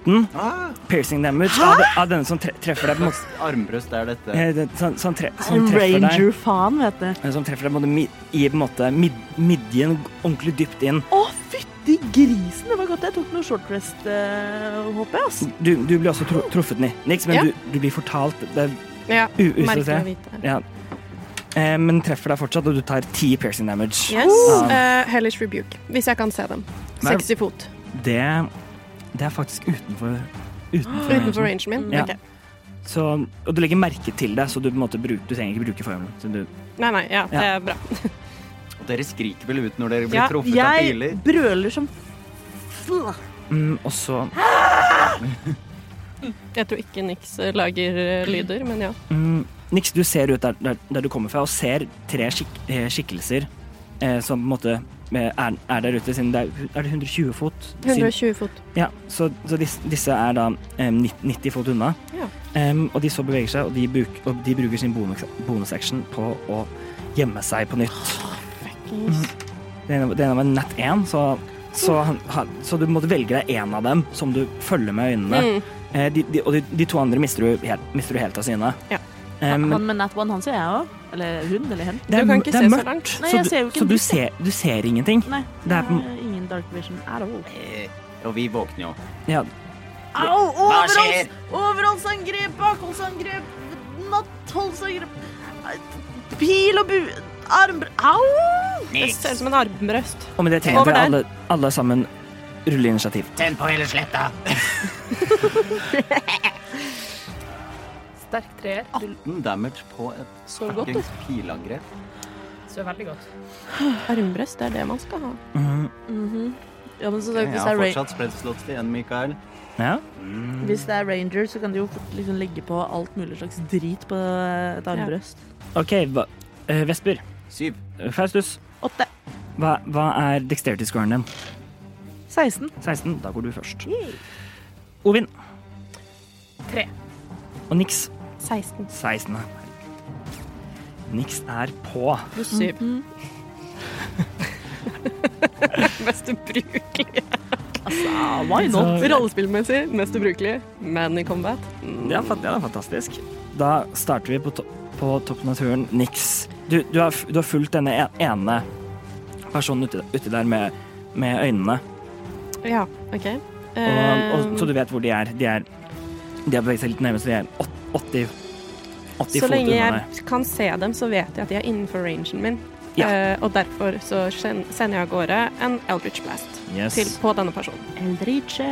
Speaker 3: 18
Speaker 5: ah,
Speaker 3: piercing damage av, av denne som tre- treffer deg. på en måte-
Speaker 5: armbrøst er dette.
Speaker 3: eh, den- Som, som, tre, som
Speaker 1: En
Speaker 3: treffer deg.
Speaker 1: ranger, faen, vet du.
Speaker 3: Eh, Som treffer deg både mi- i på en måte mid midjen ordentlig dypt inn.
Speaker 1: Å, fytti grisen! Det var godt jeg tok noe short rest, eh, håper jeg. ass.
Speaker 3: Du, du blir også tru truffet, Ni- Nix, men
Speaker 2: Ja.
Speaker 3: du, du blir fortalt det er
Speaker 2: Ja,
Speaker 3: u- usikkert.
Speaker 2: merkelig å vite.
Speaker 3: Ja. Eh, men treffer deg fortsatt, og du tar ti piercing damage.
Speaker 2: Yes.
Speaker 3: Oh.
Speaker 2: eh, Hellish Rebuke, hvis jeg kan se dem.
Speaker 3: Nei.
Speaker 2: 60 fot
Speaker 3: Det, det er faktisk utenfor Utenfor,
Speaker 2: utenfor
Speaker 3: rangen.
Speaker 2: rangen min.
Speaker 3: Ja.
Speaker 2: Ok.
Speaker 3: Så, og du legger merke til det, så du, på en måte bruk, du trenger ikke bruke formelen. Så du,
Speaker 2: Nei, nei, ja, det
Speaker 3: Ja.
Speaker 2: er bra.
Speaker 5: Og dere skriker vel ut når dere blir
Speaker 2: Ja,
Speaker 5: truffet av
Speaker 1: Jeg
Speaker 5: piler?
Speaker 1: brøler som fl...
Speaker 3: mm, og så
Speaker 2: Jeg tror ikke Nix eh, lager eh, lyder, men ja.
Speaker 3: Mm, Nix, du ser ut der, der, der du kommer fra, og ser tre skik eh, skikkelser eh, som på en måte eh, er, er der ute, siden det er, er det 120 fot? siden-
Speaker 2: 120 fot.
Speaker 3: Ja, så, så disse, disse er da em, nitt- 90 fot unna.
Speaker 2: Ja.
Speaker 3: Em, og de så beveger seg, og de, bruk, og de bruker sin bonus- bonusaction på å gjemme seg på nytt. Mhm. Det ene, det ene var nett 1, så, så, han- han- så du måtte velge deg én av dem som du følger med øynene.
Speaker 2: Mm.
Speaker 3: Eh, de, de, og de, de to andre mister du, helt, mister du helt av syne.
Speaker 2: Ja.
Speaker 3: Em,
Speaker 1: Han med Nat One, han ser jeg òg. Eller hun, eller hen.
Speaker 3: det er,
Speaker 2: Du kan
Speaker 3: mør-
Speaker 2: ikke
Speaker 3: det er
Speaker 2: se så
Speaker 3: mørkt,
Speaker 2: langt.
Speaker 1: Nei,
Speaker 3: så,
Speaker 1: jeg
Speaker 3: du,
Speaker 1: ser jo ikke
Speaker 3: så du,
Speaker 1: en dritt,
Speaker 3: ser,
Speaker 1: jeg.
Speaker 3: du ser ingenting.
Speaker 1: Nei,
Speaker 3: Det er på-
Speaker 1: eh, ingen dark vision at all.
Speaker 6: Eh, Og vi våkner jo.
Speaker 3: Ja,
Speaker 1: Au!
Speaker 6: Hva skjer?
Speaker 1: Overholds, overholdsangrep, bakholdsangrep, nattholdsangrep Pil og bu... Armbr... Au!
Speaker 2: Det
Speaker 6: Niks.
Speaker 2: ser ut som en armbrøst.
Speaker 3: og med det trenger
Speaker 2: Over
Speaker 3: dere
Speaker 2: der.
Speaker 3: alle, alle sammen rulle initiativ.
Speaker 6: Tenn på hele sletta.
Speaker 4: Sterk treer.
Speaker 2: Ah.
Speaker 4: Du
Speaker 5: 18 damage på et
Speaker 2: Så godt ut.
Speaker 5: fuckings pilangrep.
Speaker 4: sover veldig godt.
Speaker 2: Armbrøst, det er det man skal ha.
Speaker 3: Mhm.
Speaker 1: Ja, men så,
Speaker 5: Jeg
Speaker 1: hvis, det
Speaker 5: har
Speaker 1: er ra-
Speaker 5: fortsatt spreadslots igjen, Mikael.
Speaker 3: Ja.
Speaker 1: hvis det er ranger, så kan de jo fort liksom legge på alt mulig slags drit på et armbrøst.
Speaker 3: OK, hva, eh, Vesper.
Speaker 5: Syv.
Speaker 3: eh, Faustus.
Speaker 1: Åtte.
Speaker 3: Hva, hva er dexterity scoren din?
Speaker 1: 16.
Speaker 3: 16. Da går du først. Ovin
Speaker 4: Tre.
Speaker 3: og Nix.
Speaker 2: 16.
Speaker 3: 16. Nix er på.
Speaker 2: Pluss 7.
Speaker 3: Mhm.
Speaker 2: [LAUGHS] mest ubrukelige.
Speaker 1: Why not?
Speaker 2: Rollespillmessig mest ubrukelige, men i combat mm.
Speaker 3: Det er, fant- ja, det er fantastisk. Da starter vi på, to på toppen av turen. Nix. Du, du, har, f- du har fulgt denne e- ene personen uti uti der med, med øynene.
Speaker 2: Ja, OK.
Speaker 3: Og,
Speaker 2: Eh,
Speaker 3: og, så du vet hvor de er. De er De har beveget seg litt nærmere, så de er åt- 80 80
Speaker 2: så
Speaker 3: fot
Speaker 2: lenge
Speaker 3: unna
Speaker 2: jeg
Speaker 3: deg.
Speaker 2: kan se dem, så vet jeg at de er innenfor rangen min.
Speaker 3: Ja.
Speaker 2: Eh, og derfor så sen- sender jeg av gårde en Eldridge Blast
Speaker 3: Yes.
Speaker 2: til, på denne personen.
Speaker 1: Eldridge.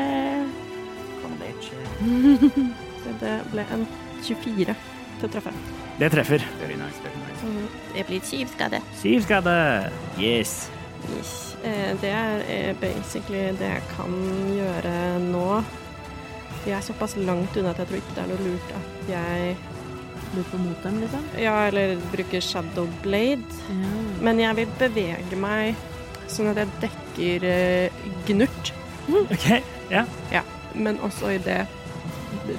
Speaker 2: Så det ble en 24 til å treffe.
Speaker 3: Det treffer.
Speaker 6: Very nice, very nice.
Speaker 2: Det blir kjipt, skal det.
Speaker 3: Syv skade. Yes.
Speaker 2: Yes. Eh, Det er eh, basically det jeg kan gjøre nå. De er såpass langt unna at jeg tror ikke det er noe lurt at jeg
Speaker 1: Lurer på mot dem, liksom.
Speaker 2: Ja, eller bruker shadow blade.
Speaker 1: Ja.
Speaker 2: Men jeg vil bevege meg sånn at jeg dekker eh, gnurt.
Speaker 3: OK. Ja.
Speaker 2: Ja. Men også i det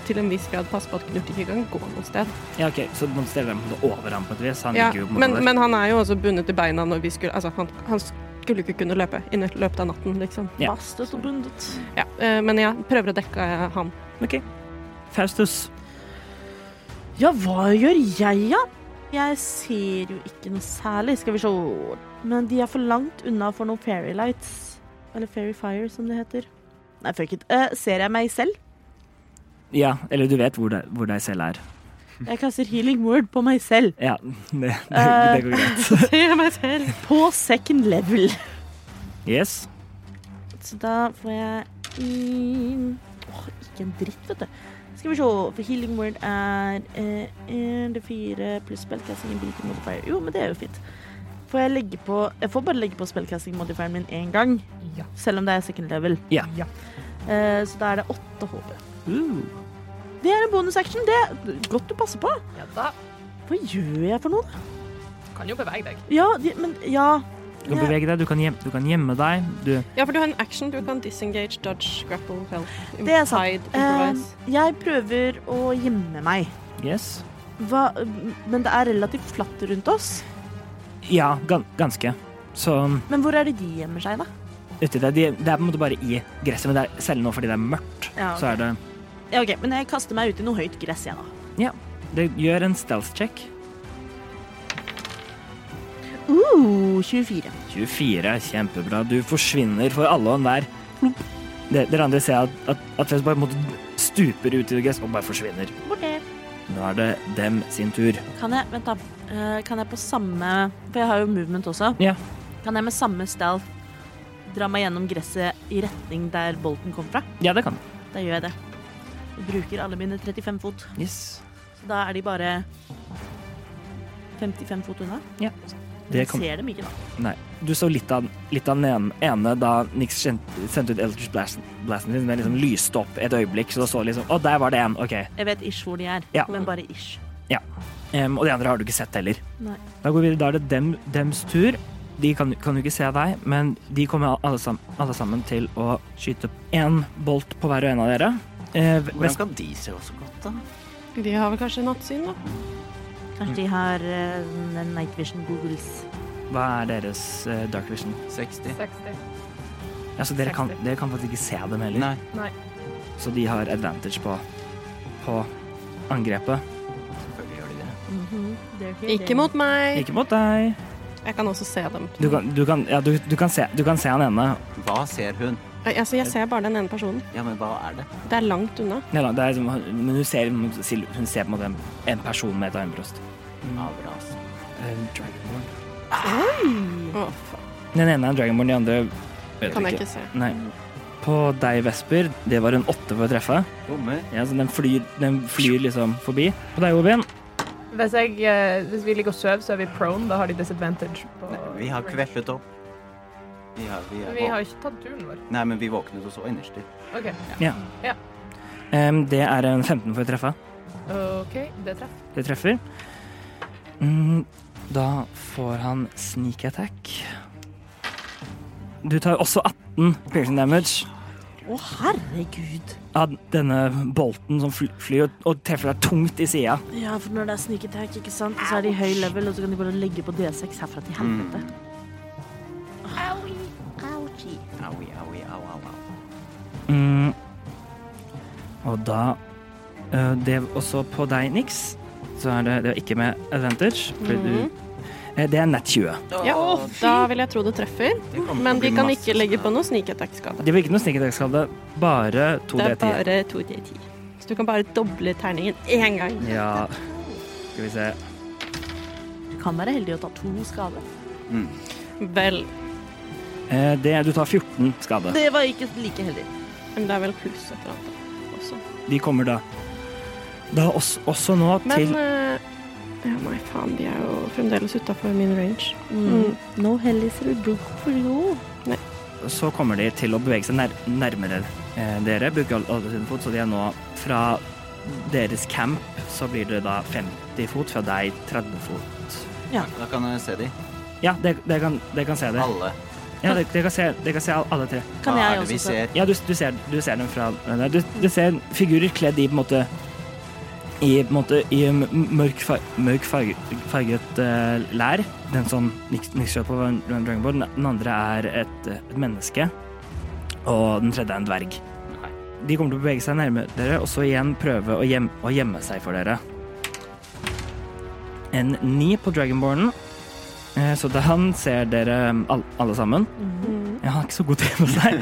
Speaker 2: til en viss grad passe på at Knut ikke kan gå noe sted.
Speaker 3: ja, OK. Så du må stelle deg over ham på et vis. Han
Speaker 2: Ja,
Speaker 3: ligger jo på en
Speaker 2: men,
Speaker 3: måte der.
Speaker 2: men han er jo også bundet i beina når vi skulle Altså, han, han skulle ikke kunne løpe i nø- løpet av natten, liksom.
Speaker 3: Ja.
Speaker 1: Fast og så bundet.
Speaker 2: Ja, eh, men jeg prøver å dekke eh, han.
Speaker 3: [LAUGHS] OK. Faustus.
Speaker 1: Ja, hva gjør jeg, da? Jeg ser jo ikke noe særlig. Skal vi se Men de er for langt unna for noen fairy lights. Eller fairy fire, som det heter. Nei, fuck it. Eh, ser jeg meg selv?
Speaker 3: Ja, eller du vet hvor, det, hvor deg selv er.
Speaker 1: Jeg kaster healing word på meg selv.
Speaker 3: Ja, [LAUGHS] det, det,
Speaker 1: Eh.
Speaker 3: det går greit.
Speaker 2: Ser meg selv.
Speaker 1: På second level.
Speaker 3: Yes.
Speaker 1: Så da får jeg inn Åh, ikke en dritt, vet du. Skal vi se, for healing word er eh, en til fire pluss spellcasting ability modifier. Jo, men det er jo fint. Får jeg legge på Jeg får bare legge på spellcasting modifieren min én gang.
Speaker 4: Ja.
Speaker 1: Selv om det er second level.
Speaker 3: Ja.
Speaker 4: Ja.
Speaker 1: Eh, så da er det åtte HP.
Speaker 3: Uh.
Speaker 1: Det er en bonus action, det. Godt du passer på.
Speaker 4: Ja da.
Speaker 1: Hva gjør jeg for noe, da?
Speaker 4: Kan jo bevege deg.
Speaker 1: Ja, de, men Ja.
Speaker 3: Du kan
Speaker 1: Ja.
Speaker 3: bevege deg, du kan, gjem, du kan gjemme deg. Du,
Speaker 2: Ja, for du har en action. Du kan disengage, dodge, grapple, help,
Speaker 1: Det er sant.
Speaker 2: hide, improvise.
Speaker 1: Eh, jeg prøver å gjemme meg.
Speaker 3: yes.
Speaker 1: Hva, men det er relativt flatt rundt oss.
Speaker 3: Ja, gan, ganske. Så um,
Speaker 1: Men hvor er det de gjemmer seg, da?
Speaker 3: uti det, de, det er på en måte bare i gresset, men det er, selv nå fordi det er mørkt,
Speaker 1: Ja, ok.
Speaker 3: så er det
Speaker 1: Ja, ok, Men jeg kaster meg ut i noe høyt gress, jeg, da.
Speaker 3: Ja. Det gjør en stealth check.
Speaker 1: Uh, 24.
Speaker 3: 24, kjempebra. Du forsvinner for alle og enhver. Plopp. De- Dere andre ser at, at, at Fez bare på en måte stuper ut i gress og bare forsvinner.
Speaker 1: Borte.
Speaker 3: Nå er det dem sin tur.
Speaker 1: Kan jeg Vent, da. Eh, Kan jeg på samme For jeg har jo movement også.
Speaker 3: Ja.
Speaker 1: Kan jeg med samme stealth dra meg gjennom gresset i retning der bolten kom fra?
Speaker 3: Ja, det kan du.
Speaker 1: Da gjør jeg det. Jeg bruker alle mine 35 fot.
Speaker 3: Yes.
Speaker 1: Så da er de bare 55 fot unna.
Speaker 3: Ja. Det
Speaker 1: Jeg
Speaker 3: kan-
Speaker 1: ser dem ikke, da.
Speaker 3: Nei. Du så litt av, litt av den ene- ene da Nix kjent- sendte ut Eldridge Blasten Blasten sin. Den liksom lyste opp et øyeblikk, så da så liksom Å, der var det en. OK.
Speaker 1: Jeg vet ish hvor de er,
Speaker 3: Ja.
Speaker 1: men bare ish.
Speaker 3: Ja. Em, og de andre har du ikke sett heller.
Speaker 1: Nei.
Speaker 3: Da går vi videre. Da er det dem, dems tur. De kan, kan jo ikke se deg, men de kommer alle sammen, alle sammen til å skyte én bolt på hver og en av dere. Eh,
Speaker 6: Hvordan
Speaker 3: Vest-
Speaker 6: kan de se oss så godt, da?
Speaker 1: Eh.
Speaker 2: De har vel kanskje nattsyn, da?
Speaker 1: Kanskje de har eh, sånne night vision googles.
Speaker 3: hva er deres eh, dark vision?
Speaker 5: 60.
Speaker 4: 60.
Speaker 3: Altså, dere, kan, dere kan faktisk ikke se dem heller,
Speaker 5: Nei.
Speaker 4: Nei.
Speaker 3: så de har advantage på, på angrepet.
Speaker 6: Selvfølgelig gjør de det.
Speaker 2: Ikke mot meg.
Speaker 3: Ikke mot deg.
Speaker 2: Jeg kan også se dem.
Speaker 3: Du kan, du kan, ja, du, du kan, se, du kan se han ene.
Speaker 5: Hva ser hun?
Speaker 2: Nei, Altså, jeg ser bare den ene personen.
Speaker 5: Ja, men hva er det?
Speaker 2: Det er langt unna.
Speaker 3: Nei, da, det er, liksom- men hun ser, hun ser på en måte en, en person med et armbrøst.
Speaker 5: Avras.
Speaker 2: altså.
Speaker 3: En dragonborn.
Speaker 2: Å, faen.
Speaker 3: Den ene er en dragonborn, de andre vet
Speaker 2: Kan
Speaker 3: du
Speaker 2: jeg ikke se.
Speaker 3: Nei. På deg, Vesper, det var en åtte for å treffe.
Speaker 5: Bommer.
Speaker 3: Ja, så den flyr, den flyr liksom forbi. På deg, Ovin.
Speaker 4: Hvis, jeg, eh, hvis vi ligger og sover, så er vi prone. Da har de disadvantage. På
Speaker 5: Nei, vi har ikke veppet opp. Vi har, vi er
Speaker 4: Vi har
Speaker 5: våk-
Speaker 4: ikke tatt turen vår.
Speaker 5: Nei, men vi våknet og så innerst til.
Speaker 4: OK.
Speaker 3: Ja.
Speaker 4: Ja.
Speaker 3: Em, det er en 15 for å treffe.
Speaker 4: Ok, Det treff.
Speaker 3: Det treffer. Mm, da får han sneak attack. Du tar også 18 piercing damage.
Speaker 1: Å, herregud.
Speaker 3: av denne bolten som fly- flyr og- og treffer deg tungt i sida.
Speaker 1: Ja, for når det er sneak attack, ikke sant, så er de høy level, og så kan de bare legge på D6 herfra til helvete.
Speaker 3: Mm.
Speaker 5: Aui, aui, au, au, au.
Speaker 3: Mm. Og da eh, Det er også på deg, Nix. Så er det, det er ikke med advantage, fordi du Eh, Det er nett 20.
Speaker 7: Ja,
Speaker 4: Å, fy.
Speaker 7: da vil jeg tro det treffer. Men de kan ikke legge på noe sneak attack-skade.
Speaker 3: Det var ikke noe snikketekstskade, bare
Speaker 7: Det er
Speaker 3: 2D10.
Speaker 7: bare 2D10. Så du kan bare doble terningen én gang.
Speaker 3: Ja Skal vi se.
Speaker 1: Du kan være heldig å ta to skader.
Speaker 7: Vel,
Speaker 3: Eh, Det, du tar 14 skade.
Speaker 1: Det var ikke like heldig.
Speaker 7: men det er vel pluss et eller annet da, også.
Speaker 3: De kommer da Da også, også nå
Speaker 7: Men
Speaker 3: til
Speaker 7: eh, Ja, nei, faen, de er jo fremdeles utafor min range. Mm.
Speaker 1: No hell is a book for you.
Speaker 3: Så kommer de til å bevege seg nær, nærmere eh, dere. Bruker all- alle sine fot, så de er nå fra deres camp så blir det da 50 fot, fra deg 30 fot.
Speaker 5: Da kan jeg se de.
Speaker 3: Ja, dere dere kan, dere kan se det.
Speaker 5: Alle.
Speaker 3: Ja, dere, dere, kan se, dere kan se al- alle tre.
Speaker 1: Kan
Speaker 5: Hva er
Speaker 1: jeg
Speaker 5: det
Speaker 1: også
Speaker 5: vi
Speaker 1: se?
Speaker 5: ser?
Speaker 3: Ja, du, du, ser, du ser dem fra nei, du, du ser figurer kledd i på en måte I, på en måte, i m- mørk, fa- mørk farge, farget eh, lær. Den som Nix Nix kjøper på en- en dragonboard. Den andre er et, eh, et menneske. Og den tredje er en dverg. De kommer til å bevege seg nærmere dere, og så igjen prøve å, gjem, å gjemme seg for dere. En ni på dragonbornen. Eh, Så da han ser dere mm, all- alle sammen Ja, Han er ikke så god til å gjemme seg.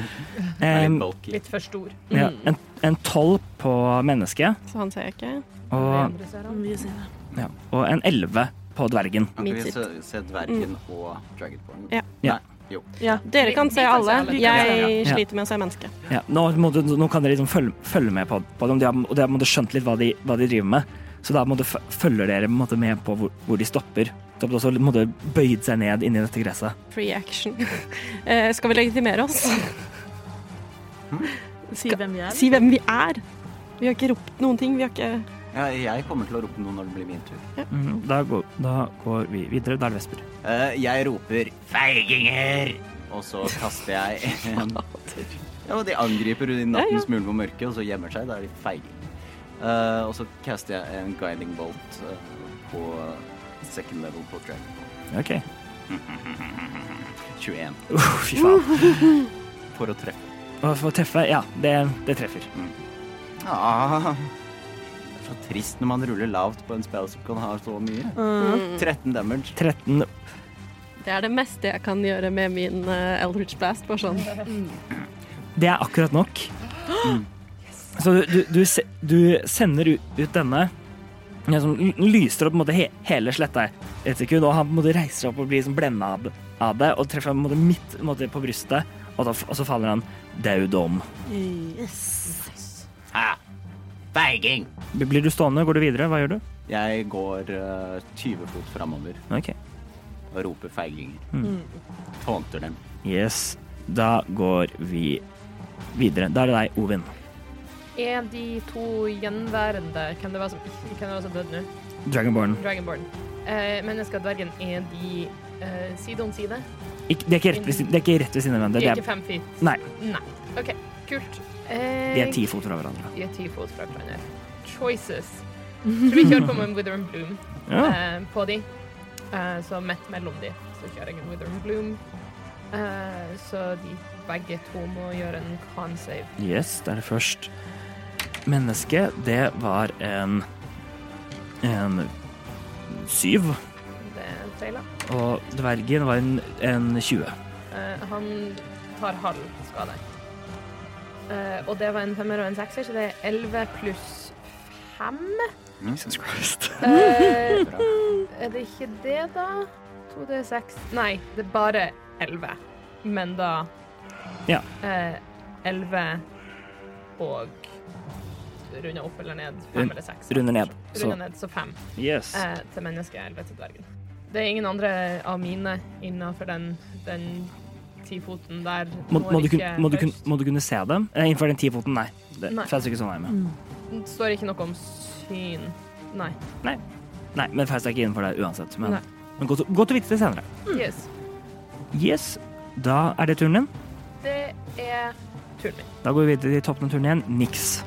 Speaker 5: Er
Speaker 3: Em,
Speaker 5: litt bulky.
Speaker 4: Litt for stor.
Speaker 3: ja,
Speaker 5: Mm.
Speaker 3: en, en tolv på mennesket
Speaker 7: Så han ser jeg ikke.
Speaker 3: og,
Speaker 4: Andre ser han.
Speaker 1: Kan vi se det?
Speaker 3: ja, og en elleve på dvergen.
Speaker 5: Kan
Speaker 7: Min
Speaker 5: ikke vi
Speaker 7: sitt.
Speaker 5: se, se dvergen
Speaker 2: Mm.
Speaker 5: og dragonborn?
Speaker 7: Ja.
Speaker 3: Ja.
Speaker 5: Nei, jo.
Speaker 7: Dere kan se
Speaker 4: Vi- vi kan se
Speaker 7: alle.
Speaker 4: alle.
Speaker 7: Jeg
Speaker 3: Ja.
Speaker 7: sliter med å se mennesket.
Speaker 3: Ja, nå, må du, nå kan dere liksom følge, følge med på, på dem, de har, og de har på en måte skjønt litt hva de, hva de driver med. Så da på en måte f- følger dere på en måte med på hvor, hvor de stopper. De har også på en måte bøyd seg ned inni dette gresset.
Speaker 7: Free action. [LAUGHS] Eh, skal vi legitimere [LAUGHS] oss?
Speaker 1: Si hvem vi er.
Speaker 7: Si hvem vi er. Vi har ikke ropt noen ting. Vi har ikke
Speaker 5: Ja, jeg kommer til å rope noe når det blir min tur. Mm.
Speaker 3: Mhm, da, går, da går vi videre. Da er det Vesper.
Speaker 5: Eh, jeg roper 'feiginger', og så kaster
Speaker 4: [LAUGHS]
Speaker 5: jeg en Ja, og de angriper i nattens mulm og mørke, og så gjemmer seg. Da er de feige. Eh, og så caster jeg en guiding bolt eh, på second level på dragon. Ball.
Speaker 3: OK.
Speaker 5: 21
Speaker 3: Uff, fy faen.
Speaker 5: for å treffe. Mm.
Speaker 3: Og for å treffe Ja, det, det treffer.
Speaker 5: Ah, det er så trist når man ruller lavt på en spell som kan ha så mye.
Speaker 4: Mm.
Speaker 5: 13 damage.
Speaker 3: 13
Speaker 7: Det er det meste jeg kan gjøre med min eh, Eldritch Blast. Bare sånn.
Speaker 3: Det er akkurat nok. Så du, du, du, se- du sender ut, ut denne ja, som l- lyser opp på en måte he, hele sletta i et sekund, og han på en måte reiser seg opp og blir liksom blenda av, av det, og treffer på en måte midt på, en måte, på brystet, og, da, f- og så faller han daud om.
Speaker 1: Yes.
Speaker 6: Ha! Feiging!
Speaker 3: Blir du stående? Går du videre? Hva gjør du?
Speaker 5: Jeg går eh, 20 fot framover
Speaker 3: Ok.
Speaker 5: og roper 'feiginger'.
Speaker 3: Mm.
Speaker 1: Mm.
Speaker 5: Tånter dem.
Speaker 3: Yes. Da går vi videre. Da er det deg, Ovin.
Speaker 4: Er de to gjenværende Hvem det var som, ikke- hvem det var som døde nå?
Speaker 3: Dragonborn.
Speaker 4: Dragonborn. Eh, mennesket og dvergen, er de eh, side om side?
Speaker 3: Ikk- det, er ikke rett ved, siden- det er ikke rett ved siden av
Speaker 4: De
Speaker 3: hverandre.
Speaker 4: er
Speaker 3: det
Speaker 4: ikke fem feet?
Speaker 3: er- Nei,
Speaker 4: Nei. OK, kult.
Speaker 3: de er ti fot fra hverandre.
Speaker 4: De er ti fot fra hverandre. Choices. Tror vi kjører på med en Wither and Bloom
Speaker 3: [LAUGHS] Ja.
Speaker 4: eh, på de. Eh, så midt mellom de, så kjører jeg en Wither and Bloom. Eh, så de begge to må gjøre en con save.
Speaker 3: Yes, det er det først. Mennesket, det var en en syv,
Speaker 4: Det feiler.
Speaker 3: og dvergen var en, en 20.
Speaker 4: Eh, han tar halv skade. Eh, og det var en femmer og en sekser, så det er 11 pluss 5.
Speaker 5: Jesus Christ.
Speaker 4: Eh, er det ikke det, da? 2D6 Nei, det er bare 11. Men da
Speaker 3: Ja.
Speaker 4: eh, 11 og Runde opp eller ned. Fem
Speaker 3: Rund-
Speaker 4: eller seks.
Speaker 3: [LAUGHS] runder ned, så-
Speaker 4: Runde ned, så fem.
Speaker 3: Yes.
Speaker 4: Eh, til mennesket, 11 til dvergen. Det er ingen andre av mine innenfor den, den tifoten der.
Speaker 3: Må,
Speaker 4: Når
Speaker 3: må, du
Speaker 4: ikke
Speaker 3: kunne, må, du kunne,
Speaker 4: høyst.
Speaker 3: må du kunne se dem? Eh, innenfor den tifoten, nei. Det
Speaker 4: Nei. Mm.
Speaker 3: Faust er ikke sånn så nærme.
Speaker 4: Det står ikke noe om syn. Nei.
Speaker 3: Nei, men Faust er ikke innenfor der uansett. Men,
Speaker 4: Nei.
Speaker 3: men godt, godt å vite det senere.
Speaker 4: Yes.
Speaker 3: Yes, da er det turen din.
Speaker 4: Det er turen min.
Speaker 3: Da går vi videre til toppen av turen igjen. Niks.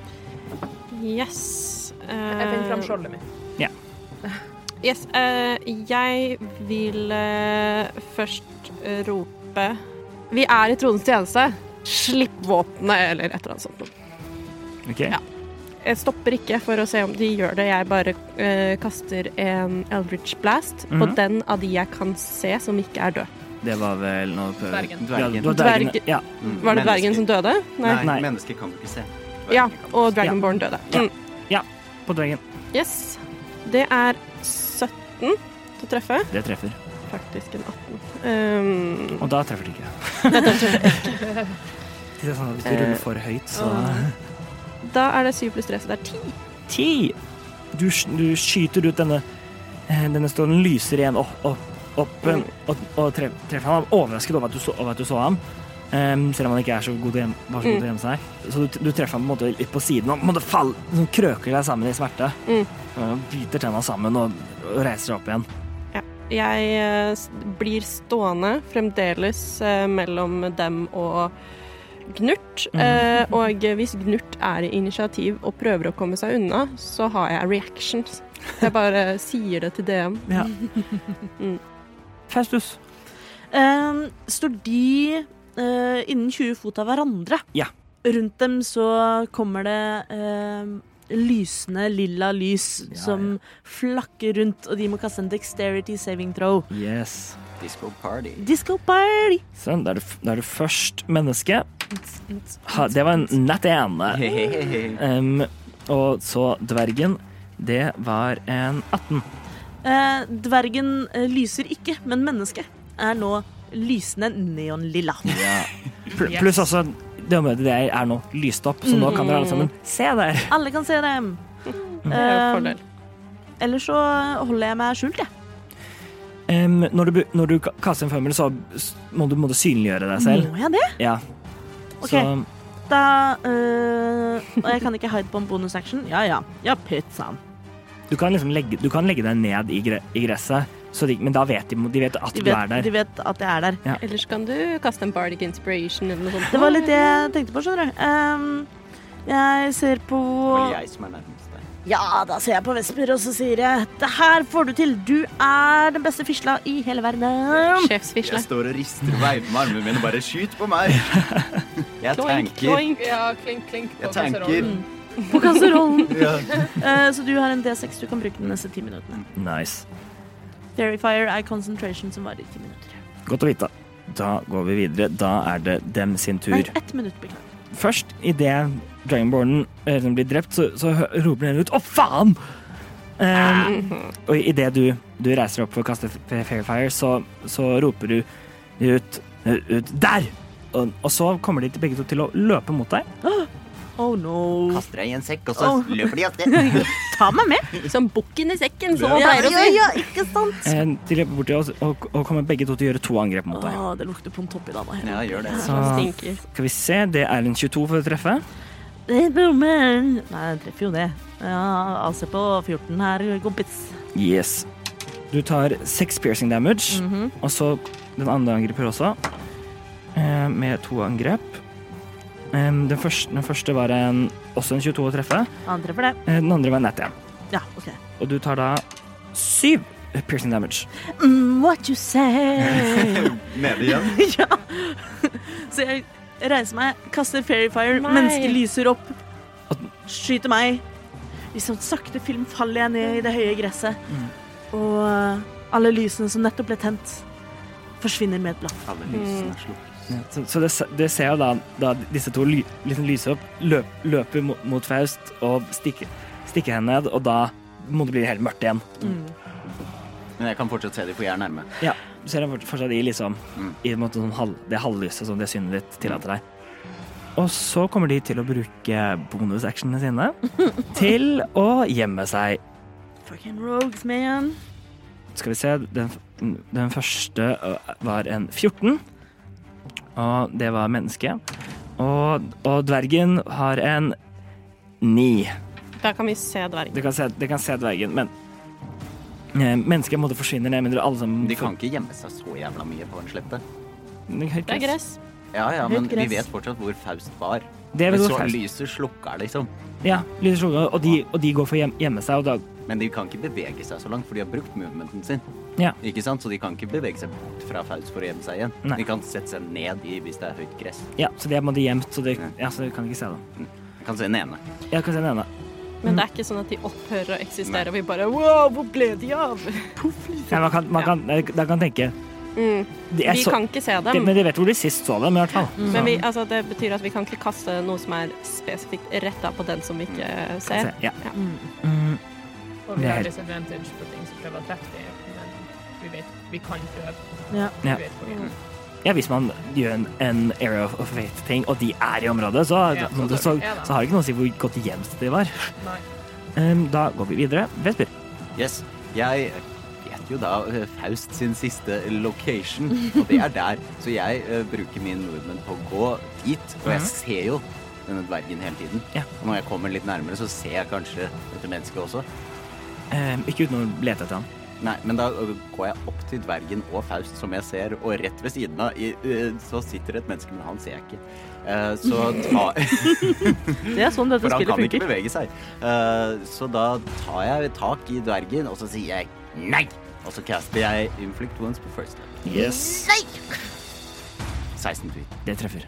Speaker 7: Yes.
Speaker 4: Jeg finner fram
Speaker 7: Eh,
Speaker 4: skjoldet mitt.
Speaker 7: Yes, eh, jeg vil eh, først eh, rope Vi er i tronens tjeneste. Slipp våpenet, eller et eller annet sånt.
Speaker 3: Ok?
Speaker 7: Ja.
Speaker 2: Jeg stopper ikke for å se om de gjør det. Jeg bare eh, kaster en Eldridge Blast på
Speaker 3: Mhm.
Speaker 2: den av de jeg kan se som ikke er død.
Speaker 3: Det var vel nå prøver-
Speaker 4: Dvergen.
Speaker 3: Ja, det var
Speaker 2: Dvergen.
Speaker 3: dvergene. Ja.
Speaker 5: Mm,
Speaker 2: Var det dvergen
Speaker 5: mennesker-
Speaker 2: som døde? Nei.
Speaker 5: Nei,
Speaker 3: Nei.
Speaker 5: mennesker kan du ikke se. Dverger
Speaker 2: Ja,
Speaker 5: kan du
Speaker 2: og
Speaker 5: se.
Speaker 2: Dragonborn døde.
Speaker 3: Ja.
Speaker 2: Mm.
Speaker 3: På dvergen.
Speaker 2: Yes. Det er 17 til å treffe.
Speaker 3: Det treffer.
Speaker 2: Faktisk en 18. Um,
Speaker 3: Og da treffer det ikke. [LAUGHS] det er sånn at hvis du
Speaker 2: Eh.
Speaker 3: ruller for høyt, så
Speaker 2: da er det 7 pluss 3, så det er 10.
Speaker 3: Ti! Du, sk- du skyter ut denne eh, Denne stålen lyser igjen opp, opp, opp eh,
Speaker 2: Mm.
Speaker 3: og, og tre- treffer ham. Han er overrasket over at du så, over at du så ham. Em, selv om han ikke er så god til å gjem- var så god
Speaker 2: Mm.
Speaker 3: til å gjemme seg. Så du, du treffer ham på en måte litt på siden og på en måte fall, sånn, krøker deg sammen i smerte.
Speaker 2: Mm.
Speaker 3: Og biter tenna sammen og, og reiser seg opp igjen.
Speaker 2: Jeg eh, s- blir stående fremdeles eh, mellom dem og Gnurt. Eh, og hvis Gnurt er i initiativ og prøver å komme seg unna, så har jeg reactions. Jeg bare [LAUGHS] sier det til DM.
Speaker 3: Ja.
Speaker 2: Mm.
Speaker 3: Faustus.
Speaker 1: Ehm, står de eh, innen 20 fot av hverandre?
Speaker 3: Ja.
Speaker 1: Rundt dem så kommer det ehm, lysende lilla lys
Speaker 3: Ja,
Speaker 1: som flakker rundt, og de må kaste en dexterity saving throw.
Speaker 3: Yes.
Speaker 5: Disco party.
Speaker 1: Disco party!
Speaker 3: Sånn, da er du, f- da er du først menneske. Ha, det var en nett ene. Em, og så dvergen. Det var en 18.
Speaker 1: Eh, dvergen eh, lyser ikke, men mennesket er nå lysende neonlilla.
Speaker 3: Pl pluss altså det området det er nå lyst opp, så nå kan
Speaker 1: Mm.
Speaker 3: dere alle sammen se der.
Speaker 1: Alle kan se dem.
Speaker 2: Det er jo en
Speaker 1: Ehm,
Speaker 2: fordel.
Speaker 1: ellers så holder jeg meg skjult, jeg.
Speaker 3: Em, når, du, bu- når du ka- kaster en formel, så s- må du, må du synliggjøre deg selv.
Speaker 1: Må jeg det?
Speaker 3: Ja.
Speaker 1: Mm. Ok.
Speaker 3: Så
Speaker 1: Da eh, Og jeg kan ikke hide på en bonus action. Ja ja. Ja, pizzaen.
Speaker 3: du kan liksom legge, du kan legge deg ned i, gre i gresset, så de, men da vet de, de vet at
Speaker 1: De
Speaker 3: du er
Speaker 1: vet,
Speaker 3: der.
Speaker 1: de vet at jeg er der.
Speaker 2: Ellers kan du kaste en bardic inspiration eller noe sånt.
Speaker 1: Det var litt det jeg tenkte på, skjønner du. Ehm, jeg ser på
Speaker 5: Vel, jeg som er nærmest deg.
Speaker 1: Ja, da ser jeg på Vesper, og så sier jeg Det her får du til. Du er den beste fisla i hele verden.
Speaker 2: Sjefsfisle.
Speaker 5: Jeg står og rister og veiver med armene mine. Bare skyt på meg! [LAUGHS] Jeg
Speaker 2: Kloink,
Speaker 5: tenker
Speaker 2: kloink.
Speaker 4: Ja, klink, klink. på Mm.
Speaker 5: Jeg tenker
Speaker 4: kasserollen.
Speaker 1: På kasserollen.
Speaker 5: ja.
Speaker 1: Eh, så du har en D6 du kan bruke de neste ti minuttene.
Speaker 3: Nice.
Speaker 1: Verifier er concentration som varer i ti minutter.
Speaker 3: Godt å vite. Da går vi videre. Da er det dem sin tur.
Speaker 1: Nei, ett minutt, beklager.
Speaker 3: Først, idet Dragonbornen eh, som blir drept, så, så hø- roper den ut 'Å, faen!' Um, og idet du, du reiser deg opp for å kaste f- Fairfire, så, så roper du ut, ut 'Der!' Og, og så kommer de til- begge to til å løpe mot deg.
Speaker 1: Oh no.
Speaker 5: Kaster deg i en sekk, og så
Speaker 1: Åh.
Speaker 5: løper de av
Speaker 1: [LAUGHS]
Speaker 5: sted.
Speaker 1: Ta meg med.
Speaker 2: Som bukken i sekken, som
Speaker 5: Ja,
Speaker 2: man pleier å
Speaker 1: ja,
Speaker 2: si.
Speaker 1: ja, ikke sant?
Speaker 3: Eh, de løper bort til oss og, og kommer begge to til å gjøre to angrep mot deg.
Speaker 1: Å, det lukter pommes topp i dag. da.
Speaker 5: Ja, gjør det.
Speaker 3: Så
Speaker 2: Stinker.
Speaker 3: skal vi se, det er en 22 for å treffe.
Speaker 1: Hey, boomer. Nei, jeg treffer jo det. Ja, AC på 14 her, kompis.
Speaker 3: Yes. Du tar seks piercing damage, og så den andre angriper også, eh, med to angrep. Em, den, første, den første var en, også en 22 å treffe.
Speaker 1: Han treffer det.
Speaker 3: Eh, Den andre var en nett igjen.
Speaker 1: Ja, OK.
Speaker 3: Og du tar da syv piercing damage.
Speaker 1: Mm, what you say?
Speaker 5: Nede igjen.
Speaker 1: [LAUGHS] ja. Så jeg reiser meg, kaster Fairyfire,
Speaker 2: Nei.
Speaker 1: mennesket lyser opp,
Speaker 3: At-
Speaker 1: skyter meg. I sånn sakte film faller jeg ned i det høye gresset, og eh, alle lysene som nettopp ble tent, forsvinner med et blaff.
Speaker 5: Alle lysene er slukket.
Speaker 3: Så, så det, se- det ser jo da, da disse to ly, liksom lyser opp, løp, løper mot, mot Faust og stikker, stikker henne ned, og da må det bli helt mørkt igjen.
Speaker 5: Men jeg kan fortsatt se dem, for jeg er nærme.
Speaker 3: Ja, du ser den fort- fortsatt i liksom
Speaker 5: Mm.
Speaker 3: I en måte sånn halv, det halvlyset som det synet ditt tillater deg. Og så kommer de til å bruke bonusactionene sine
Speaker 5: [LAUGHS]
Speaker 3: til å gjemme seg.
Speaker 1: Fucking rogues, man.
Speaker 3: Skal vi se Den, den første ø, var en 14, og det var menneske. Og, og dvergen har en 9.
Speaker 2: Da kan vi se dvergen.
Speaker 3: Du kan se, du kan se dvergen, men eh, Mennesket måtte forsvinne ned, men dere alle sammen
Speaker 5: De kan ikke gjemme seg så jævla mye på en slette.
Speaker 2: Det er gress.
Speaker 5: Ja, ja, men
Speaker 1: Høyt
Speaker 5: vi
Speaker 1: gress.
Speaker 5: vet fortsatt hvor Faust var.
Speaker 3: Det er
Speaker 5: Men
Speaker 3: vel
Speaker 5: så
Speaker 3: Faust.
Speaker 5: lyset slukka, liksom.
Speaker 3: Ja, lyset slukka, og de, og de går for å gjem- gjemme seg, og da
Speaker 5: Men de kan ikke bevege seg så langt, for de har brukt movementen sin.
Speaker 3: Ja.
Speaker 5: Ikke sant? Så de kan ikke bevege seg bort fra Faust for å gjemme seg igjen.
Speaker 3: Nei.
Speaker 5: De kan sette seg ned i hvis det er høyt gress.
Speaker 3: Ja, så det er på en måte gjemt, så det,
Speaker 5: Ja.
Speaker 3: ja, så dere kan ikke se det.
Speaker 5: Jeg kan se den ene.
Speaker 3: Jeg kan se den ene.
Speaker 2: Men det er ikke sånn at de opphører å eksistere, og vi bare Wow, hvor ble de av?
Speaker 3: Nei, man kan, man kan, da kan tenke
Speaker 2: Mm.
Speaker 3: de er
Speaker 2: Vi
Speaker 3: så,
Speaker 2: kan ikke se
Speaker 3: de,
Speaker 2: dem,
Speaker 3: Men de vet hvor de sist så dem, i hvert fall.
Speaker 2: men vi, altså, det betyr at vi kan ikke kaste noe som er spesifikt retta på den som vi ikke
Speaker 3: Så,
Speaker 2: ser.
Speaker 3: ja.
Speaker 1: Mm.
Speaker 3: Mm,
Speaker 4: Og vi
Speaker 3: Det er
Speaker 4: har
Speaker 3: helt-
Speaker 4: disadvantage på ting som prøver å treffe dem, men vi vet vi kan prøve.
Speaker 1: Ja.
Speaker 4: Vi
Speaker 3: Ja.
Speaker 4: vet hvor vi er.
Speaker 3: ja, hvis man gjør en, en area of fate-ting, og de er i området, så,
Speaker 4: Ja,
Speaker 3: så,
Speaker 4: så-
Speaker 3: så,
Speaker 4: ja da.
Speaker 3: har det ikke noe å si hvor godt gjemt de var.
Speaker 4: Nei.
Speaker 3: Um, da går vi videre. Vesper.
Speaker 5: Yes. Jeg vet jo da eh, Faust sin siste location, og det er der. Så jeg eh, bruker min nordmenn på å gå dit, og jeg ser jo denne dvergen hele tiden.
Speaker 3: Ja.
Speaker 5: Og når jeg kommer litt nærmere, så ser jeg kanskje dette mennesket også.
Speaker 3: Um, ikke uten å lete etter han.
Speaker 5: Nei, men da eh, går jeg opp til dvergen og Faust, som jeg ser, og rett ved siden av i- eh, så sitter det et menneske, men han ser jeg ikke. Eh, Så ta
Speaker 1: Det er sånn dette
Speaker 5: For han
Speaker 1: spillet
Speaker 5: kan ikke
Speaker 1: funker.
Speaker 5: bevege seg. Eh, så da tar jeg tak i dvergen, og så sier jeg nei! Og så caster jeg Inflict Wounds på first level.
Speaker 3: Yes.
Speaker 5: 16 tweet.
Speaker 3: Det treffer.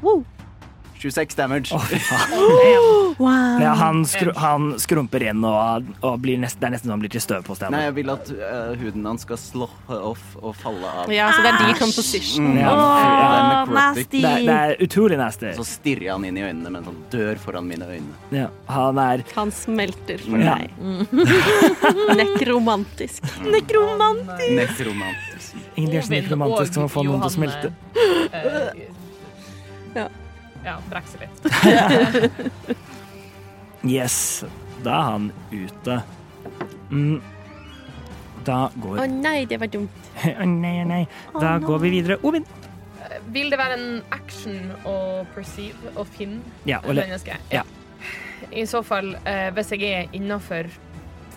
Speaker 1: Wow.
Speaker 5: 26 damage.
Speaker 3: Å, fy faen.
Speaker 1: Wow.
Speaker 3: Ja, han, skru, han skrumper inn, og, og blir nest, det er nesten så han blir til støv på stedet.
Speaker 5: [LAUGHS] Nei, jeg vil at eh, huden hans skal slå off og falle av.
Speaker 2: Ja, så det er decomposition.
Speaker 3: Ja.
Speaker 5: Ja, det er necrotic.
Speaker 1: nasty.
Speaker 3: Det, er- det er utrolig nasty.
Speaker 5: Så stirrer jeg han inn i øynene mens han dør foran mine øyne.
Speaker 3: Ja, han er
Speaker 2: Han smelter for
Speaker 3: Ja.
Speaker 2: deg. [LAUGHS] Nekromantisk.
Speaker 1: Nekromantisk.
Speaker 5: Nekromantisk.
Speaker 3: Ingenting er så
Speaker 4: Ovin
Speaker 3: nekromantisk som å få noen til å
Speaker 4: Johanne,
Speaker 3: smelte.
Speaker 4: eh,
Speaker 2: Ja.
Speaker 4: Ja, brekke seg litt.
Speaker 3: Yes, da er han ute. Mm. Da går Å
Speaker 2: Å nei, det var dumt.
Speaker 3: nei, [LAUGHS] å nei. Da går vi videre. Ovin.
Speaker 4: Eh, Vil det være en action å perceive og finne
Speaker 3: Ja, og
Speaker 4: et
Speaker 3: le-
Speaker 4: menneske?
Speaker 3: ja.
Speaker 4: I så fall, eh, hvis jeg er innafor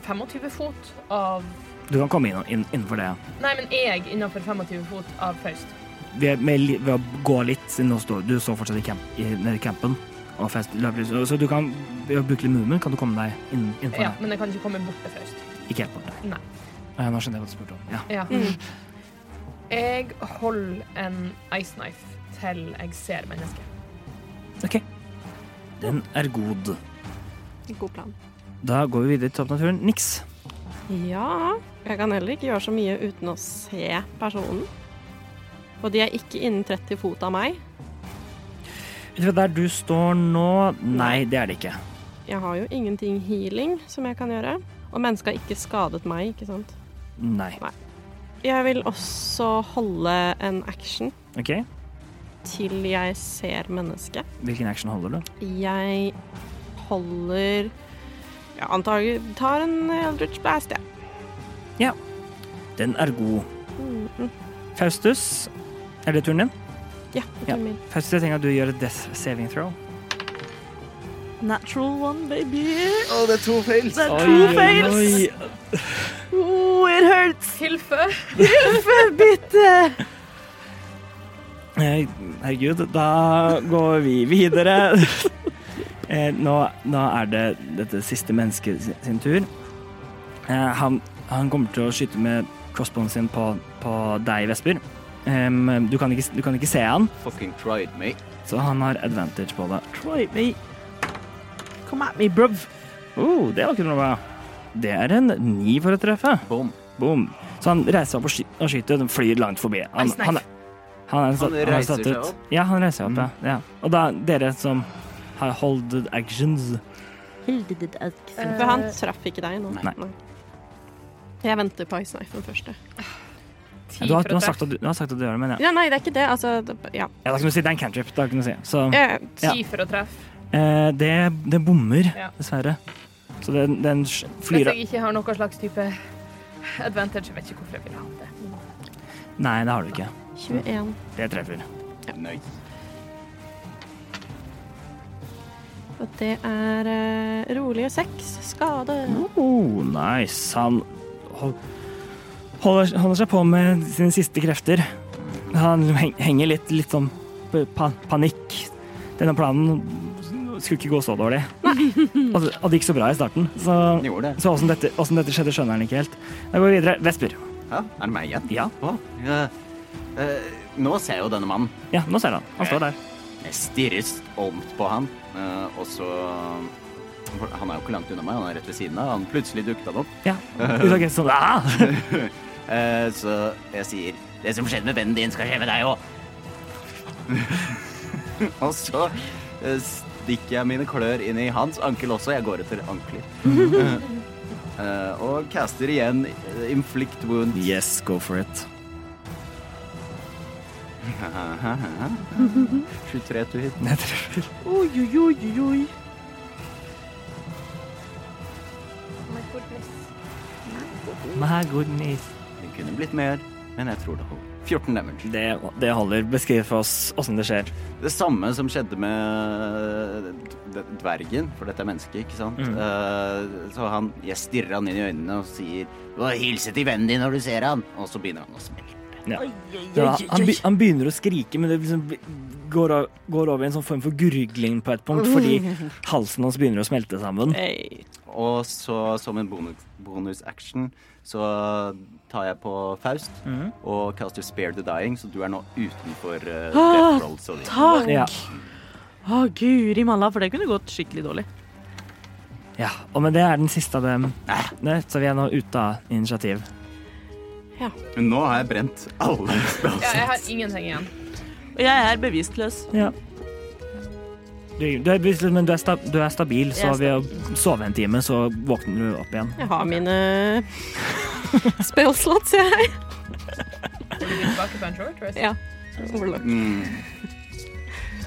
Speaker 4: 25 fot av
Speaker 3: Du kan komme inn, inn innenfor det.
Speaker 4: Nei, men er jeg innafor 25 fot av Faust?
Speaker 3: Ved, med, li- ved å gå litt, siden nå står- du står fortsatt i camp, i, nede i campen. Og fest, løper, så, så du kan ved å bruke litt movement kan du komme deg inn, innenfor
Speaker 4: Ja, men jeg kan ikke komme bort til Faust.
Speaker 3: det. Ikke helt bort der.
Speaker 4: Nei.
Speaker 3: Eh, Nå skjønner jeg hva du spurte om. Ja.
Speaker 4: Ja.
Speaker 2: Mm.
Speaker 4: Jeg holder en ice knife til jeg ser mennesket.
Speaker 3: OK. Den er god.
Speaker 2: God plan.
Speaker 3: Da går vi videre til toppnaturen. Niks.
Speaker 2: Ja, jeg kan heller ikke gjøre så mye uten å se personen. Og de er ikke innen 30 fot av meg.
Speaker 3: Ut fra der du står nå Nei, det er det ikke.
Speaker 2: Jeg har jo ingenting healing som jeg kan gjøre. Og mennesket har ikke skadet meg, ikke sant.
Speaker 3: Nei.
Speaker 2: Jeg vil også holde en action
Speaker 3: OK.
Speaker 2: til jeg ser mennesket.
Speaker 3: Hvilken action holder du?
Speaker 2: Jeg holder Jeg antager tar en Eldritch Blast, jeg.
Speaker 3: Den er god.
Speaker 2: Mm,
Speaker 3: Faustus, er det turen din?
Speaker 2: ja, det
Speaker 3: Ja.
Speaker 2: er min.
Speaker 3: Faustus, jeg tenker at du gjør et death saving throw.
Speaker 1: Natural one, baby.
Speaker 5: Å, det er to fails!
Speaker 1: Det er to fails. Oh, it hurts. [LAUGHS]
Speaker 4: Hilfe!
Speaker 1: Bitte.
Speaker 3: Eh, Herregud, da går vi videre. [LAUGHS] Eh, nå, nå er det dette siste mennesket sin- sin tur. Eh, han, han kommer til å skyte med crossbowen sin på, på deg, Vesper. Em, du, kan ikke, du kan ikke se han,
Speaker 5: Fucking tried me.
Speaker 3: så han har advantage på det.
Speaker 1: Try me. Come at me, bruv.
Speaker 3: Oh, det var ikke noe bra. Det er en ni for å treffe.
Speaker 5: Boom.
Speaker 3: Boom. Så han reiser seg opp og, sky og skyter, og den flyr langt forbi. Han,
Speaker 4: Nice, nice.
Speaker 3: han, er- han, er,
Speaker 5: Han
Speaker 3: han, er
Speaker 5: reiser
Speaker 3: satt
Speaker 5: seg
Speaker 3: ut.
Speaker 5: opp.
Speaker 3: Ja, han reiser seg opp, ja. ja. Og da, dere som har holded actions
Speaker 2: For han traff ikke deg nå.
Speaker 3: Eh, Nei.
Speaker 2: Jeg venter på Ice Knifen først. jeg.
Speaker 3: ja, du, har, du, har sagt at du, du har sagt at du gjør det, men ja.
Speaker 2: Ja, nei, det er ikke det. Altså, det, ja.
Speaker 3: ja da kan du si det er en cantrip. Da kan du si. Så
Speaker 2: Eh,
Speaker 3: Mm. Ja.
Speaker 4: Ti for å treffe.
Speaker 3: eh, det, det bommer,
Speaker 4: Ja.
Speaker 3: dessverre. Så den, den sj-
Speaker 4: Hvis
Speaker 3: flyr
Speaker 4: jeg ikke har noen slags type advantage, jeg vet ikke hvorfor jeg vil ha det.
Speaker 3: Nei, det har du ikke.
Speaker 2: 21.
Speaker 3: Det treffer.
Speaker 5: Nice.
Speaker 2: Og det er eh, rolige seks skade.
Speaker 3: Oh, nice. Han hol- holder, holder seg på med sine siste krefter. Han heng- henger litt, litt sånn p- pa panikk. Denne planen skulle ikke gå så dårlig. Og, det- og det gikk så bra i starten, så,
Speaker 5: Han gjorde det.
Speaker 3: så åssen dette, åssen dette skjedde, skjønner han ikke helt. Da går vi videre. Vesper.
Speaker 5: Ja, er det meg igjen?
Speaker 3: Ja.
Speaker 5: Å, eh, eh, nå ser jeg jo denne mannen.
Speaker 3: ja, nå ser han. Han står der.
Speaker 5: Jeg stirrer stolt på han, eh, og så for han er jo ikke langt unna meg, han er rett ved siden av. Han plutselig dukket han opp.
Speaker 3: Ja. Ut av genseren. Ah!
Speaker 5: [LAUGHS] Eh, så jeg sier
Speaker 6: Det som skjedde med vennen din, skal skje med deg òg.
Speaker 5: [LAUGHS] Og så eh, stikker jeg mine klør inn i hans ankel også. Jeg går etter ankler. Eh, og caster igjen eh, inflict wound.
Speaker 3: Yes, go for it.
Speaker 5: 23 to hit.
Speaker 3: Jeg treffer.
Speaker 1: Oi, oi, oi, oi, oi.
Speaker 4: My goodness.
Speaker 3: My goodness.
Speaker 5: Det kunne blitt mer, men jeg tror det holder. 14 damage.
Speaker 3: Det, det holder. Beskriv for oss åssen det skjer.
Speaker 5: Det samme som skjedde med eh, d- d- dvergen, for dette er mennesket, ikke sant?
Speaker 3: Mm.
Speaker 5: Eh, så han, jeg stirrer han inn i øynene og sier
Speaker 6: Du har hilset til vennen din når du ser han.
Speaker 5: Og så begynner han å smelte.
Speaker 3: Ja.
Speaker 1: oi,
Speaker 3: Ja,
Speaker 1: oi,
Speaker 3: han, be,
Speaker 1: oi.
Speaker 3: han begynner å skrike, men det liksom b- går, av- går over i en sånn form for gurgling på et punkt,
Speaker 1: [LAUGHS]
Speaker 3: fordi halsen hans begynner å smelte sammen.
Speaker 5: Og så som en bonus, bonus action så tar jeg på Faust
Speaker 6: Mhm.
Speaker 5: og caster Spare the Dying, så du er nå utenfor eh,
Speaker 1: Ah,
Speaker 5: death roll. Så det-
Speaker 1: Takk!
Speaker 3: Ja.
Speaker 1: Å, guri malla, for det kunne gått skikkelig dårlig.
Speaker 3: ja. Og med det er den siste av dem. Nei, så vi er nå ute av initiativ.
Speaker 5: Men nå har jeg brent alle spillene.
Speaker 4: Ja, jeg har ingenting igjen.
Speaker 1: Og jeg er bevisstløs.
Speaker 3: Ja. Du, du er, bevisst, men du er, sta, du er stabil,
Speaker 1: Jeg
Speaker 3: så
Speaker 1: er
Speaker 3: ved å sove en time, så våkner du opp igjen.
Speaker 2: Jeg har mine [LAUGHS] spellslots, jeg.
Speaker 4: Får du tilbake på en short rest?
Speaker 2: Ja. Warlock.
Speaker 5: Mm.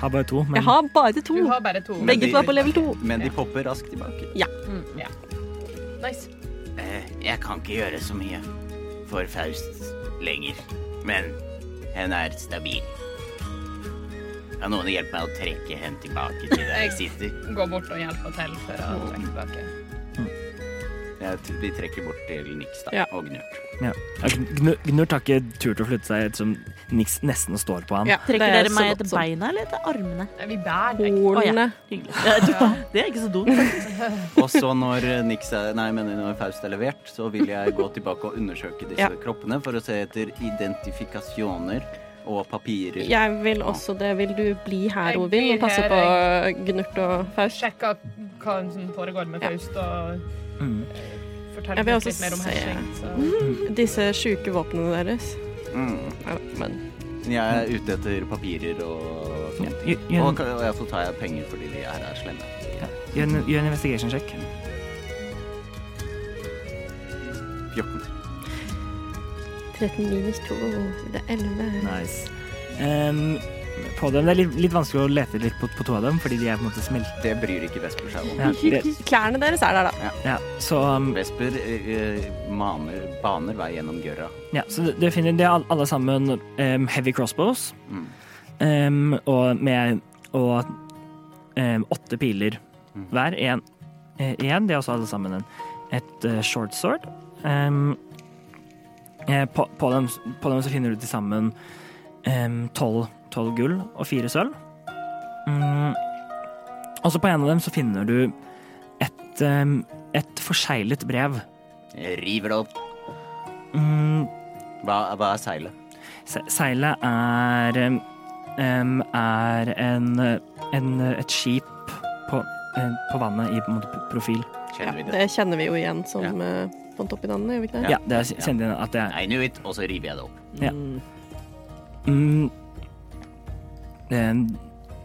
Speaker 3: Har bare to, men
Speaker 2: Jeg har bare to.
Speaker 4: Du har bare to.
Speaker 5: Men
Speaker 2: Begge
Speaker 5: de-
Speaker 2: to er på level 2.
Speaker 5: Men de popper raskt tilbake.
Speaker 4: Nice.
Speaker 6: Eh, Jeg kan ikke gjøre så mye for Faust lenger, men hun er stabil. Kan noen hjelpe meg å trekke henne tilbake til
Speaker 5: [LAUGHS]
Speaker 6: der jeg sitter?
Speaker 4: Gå bort og hjelpe til for å trekke tilbake.
Speaker 5: Jeg tror de trekker bort til Nix da,
Speaker 2: Ja.
Speaker 5: og Gnurt.
Speaker 3: ja. Ja, Gnu- Gnurt har ikke tur til å flytte seg ettersom Nix nesten står på ham.
Speaker 2: Ja, det
Speaker 1: Trekker
Speaker 2: er
Speaker 1: dere meg
Speaker 2: så godt
Speaker 1: etter
Speaker 2: som
Speaker 1: beina eller etter armene?
Speaker 4: Nei, Vi bærer deg.
Speaker 2: Hornene.
Speaker 1: Hyggelig. Ja, du, det er ikke så dumt. [LAUGHS]
Speaker 5: Og så når Nix er, nei, men når Faust er levert, så vil jeg gå tilbake og undersøke disse
Speaker 2: Ja.
Speaker 5: kroppene for å se etter identifikasjoner og papirer.
Speaker 2: Jeg vil også det. Vil du bli her,
Speaker 4: Jeg
Speaker 2: Ovin,
Speaker 4: blir
Speaker 2: og passe
Speaker 4: her,
Speaker 2: på Gnurt og Faust?
Speaker 4: Sjekke hva som foregår med
Speaker 2: Ja.
Speaker 4: Faust, og
Speaker 3: Mm.
Speaker 4: fortelle
Speaker 2: Jeg vil
Speaker 4: litt
Speaker 2: også
Speaker 4: mer om
Speaker 2: se- Mhm.
Speaker 4: hashing. Så.
Speaker 2: Disse sjuke våpnene deres.
Speaker 5: Mm.
Speaker 2: Nei, Men
Speaker 5: Jeg er ute etter papirer og sånt.
Speaker 3: Gjør,
Speaker 5: Og,
Speaker 3: gjør,
Speaker 5: og jeg får ta penger fordi de her er slemme.
Speaker 3: gjør en, gjør en investigation check.
Speaker 5: 14.
Speaker 2: 13 minus 2, det er 11.
Speaker 3: Nice. Ehm, på dem. Det er litt, litt vanskelig å lete litt på, på to av dem, fordi de er på en måte smelt.
Speaker 5: Det bryr ikke Vesper seg om.
Speaker 3: Ja, det,
Speaker 2: [LAUGHS] Klærne deres er der, da.
Speaker 3: ja. Så, um,
Speaker 5: Vesper eh, maner, baner vei gjennom gørra.
Speaker 3: ja, så dere finner de er all- alle sammen um, heavy crossbows
Speaker 5: Mm.
Speaker 3: um, og med og, um, åtte piler
Speaker 5: Mm.
Speaker 3: hver. Én. Én, de har også alle sammen en. Et eh, short sword. Um, eh, på, på, dem, på dem så finner du til sammen um, tolv tolv gull og fire sølv. Mm. Og så på en av dem så finner du et, um, et forseglet brev.
Speaker 5: Jeg river det opp.
Speaker 3: Mm,
Speaker 5: Hva, hva er seilet?
Speaker 3: Se- Seilet er em, em, er en, en, et skip på, eh, på vannet i på en måte, p- profil.
Speaker 2: Ja,
Speaker 5: Kjenner vi det?
Speaker 2: det kjenner vi jo igjen som
Speaker 5: Ja.
Speaker 2: eh, på toppidannene, gjør vi ikke det?
Speaker 3: Ja, det er, kjenner jeg at det er.
Speaker 5: I knew it, og så river jeg det opp.
Speaker 3: Mm, Em,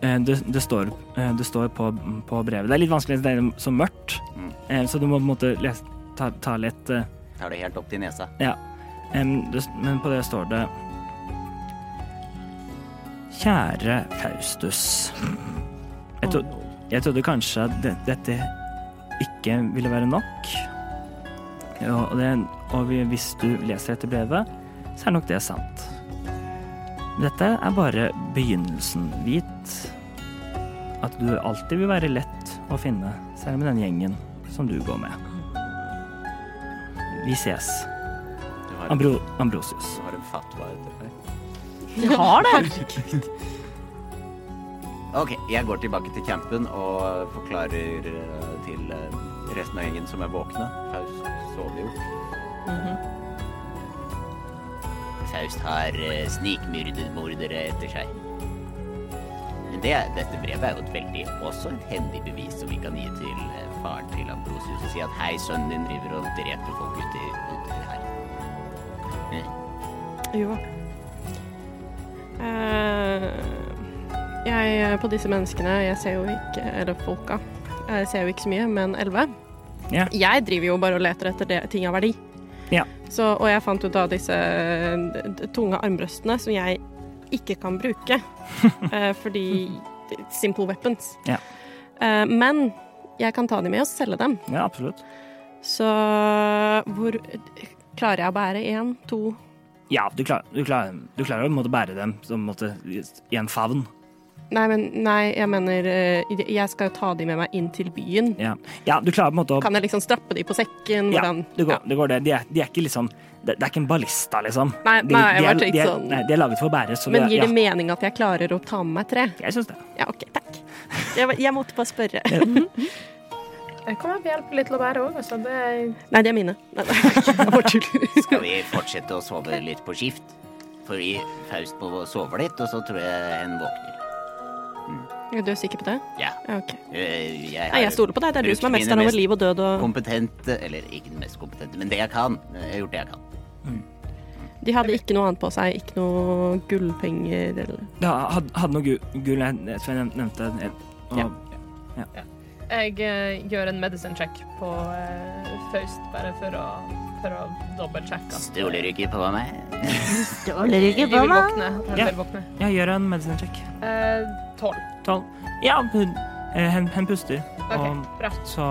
Speaker 3: eh, det, det, står, eh, det står på, på brevet. Det er litt vanskelig, det er så mørkt,
Speaker 5: Mm.
Speaker 3: eh, så du må på en måte lese, ta, ta litt eh,
Speaker 5: Tar det helt opp til nesa.
Speaker 3: Ja. Em, det, men på det står det Kjære Faustus. Jeg, tro, jeg trodde kanskje at det, dette ikke ville være nok. Ja, Og, det, og vi- hvis du leser dette brevet, så er nok det sant. Dette er bare begynnelsen. Vit at du alltid vil være lett å finne, selv med den gjengen som du går med. Vi ses.
Speaker 5: Du har,
Speaker 3: Ambro Ambrosius.
Speaker 5: du har en fatwa ute her.
Speaker 1: Jeg har det.
Speaker 5: Ok, jeg går tilbake til campen og forklarer eh, til eh, resten av gjengen som er våkne. Faust sover jo.
Speaker 2: Mhm.
Speaker 6: Faust har eh, snikmyrdet mordere etter seg. Hun
Speaker 5: Men det, dette brevet er jo et veldig, også et hendig bevis som vi kan gi til eh, faren til Ambrosius og si at hei, sønnen din driver og dreper folk ute, i- ute her.
Speaker 8: Jo.
Speaker 2: Eh, jeg eh, på disse menneskene, jeg ser jo ikke Eller folka. Jeg ser jo ikke så mye, men elleve.
Speaker 3: Ja.
Speaker 2: Jeg driver jo bare og leter etter det, ting av verdi.
Speaker 3: Ja.
Speaker 2: Så, og jeg fant ut av disse eh, d- tunge armbrøstene som jeg ikke kan
Speaker 3: [LAUGHS]
Speaker 2: bruke. eh, fordi Simple weapons.
Speaker 3: Ja.
Speaker 2: Eh, men jeg kan ta dem med og selge dem.
Speaker 3: Ja, absolutt.
Speaker 2: Så hvor eh, Klarer jeg å bære én, to
Speaker 3: Ja, du klarer, du klarer, du klarer å på en måte, bære dem som, på en måte, i en favn.
Speaker 2: Nei, men nei, jeg mener eh, Jeg skal jo ta de med meg inn til byen.
Speaker 3: Ja. ja, du klarer på en måte å
Speaker 2: Kan jeg liksom strappe de på sekken?
Speaker 3: Ja,
Speaker 2: Hvordan?
Speaker 3: det går, det går det. De er, de er ikke liksom Det, det er ikke en ballista, liksom.
Speaker 2: Nei,
Speaker 3: de,
Speaker 2: nei, jeg
Speaker 3: de
Speaker 2: bare
Speaker 3: er,
Speaker 2: tenkte
Speaker 3: de er,
Speaker 2: sånn.
Speaker 3: Nei, de er laget for å bære, så
Speaker 2: Men
Speaker 3: det,
Speaker 2: gir
Speaker 3: ja,
Speaker 2: det mening at jeg klarer å ta med meg tre?
Speaker 3: jeg syns det.
Speaker 2: Ja, OK, takk. Jeg, var- jeg måtte bare spørre.
Speaker 4: Jeg kommer opp og hjelper litt til å bære òg, altså. Det er
Speaker 2: Nei, de er mine. Nei, [LAUGHS] nei. Jeg bare tuller.
Speaker 5: Skal vi fortsette å sove litt på skift? For vi, Faust må sove litt, og så tror jeg en våkner.
Speaker 2: Er du sikker på det?
Speaker 5: Ja.
Speaker 2: Ja, OK.
Speaker 5: Eh, Jeg,
Speaker 2: Nei, jeg
Speaker 5: er-
Speaker 2: stoler på deg. Det er du som er
Speaker 5: Brukt mine
Speaker 2: mesteren over
Speaker 5: mest-
Speaker 2: liv og død og
Speaker 5: kompetente, eller ikke den mest kompetente, men det jeg kan. Jeg har gjort det jeg kan.
Speaker 2: De hadde ikke noe annet på seg. Ikke noe gullpenger eller
Speaker 3: Ja, hadde, hadde noe gu- gull jeg, jeg tror jeg nev- nevnte en- og,
Speaker 2: Ja.
Speaker 4: Jeg eh, gjør en medicine check på eh, Faust, bare for å, for å dobbeltsjekke. at- eh,
Speaker 5: Stoler du ikke på meg?
Speaker 4: Jeg vil våkne. Jeg vil våkne.
Speaker 3: Jeg gjør en medicine check.
Speaker 4: Eh, Tolv.
Speaker 3: Tolv. Ja, hun, eh, hen, hen puster,
Speaker 4: OK,
Speaker 3: og,
Speaker 4: bra.
Speaker 3: så,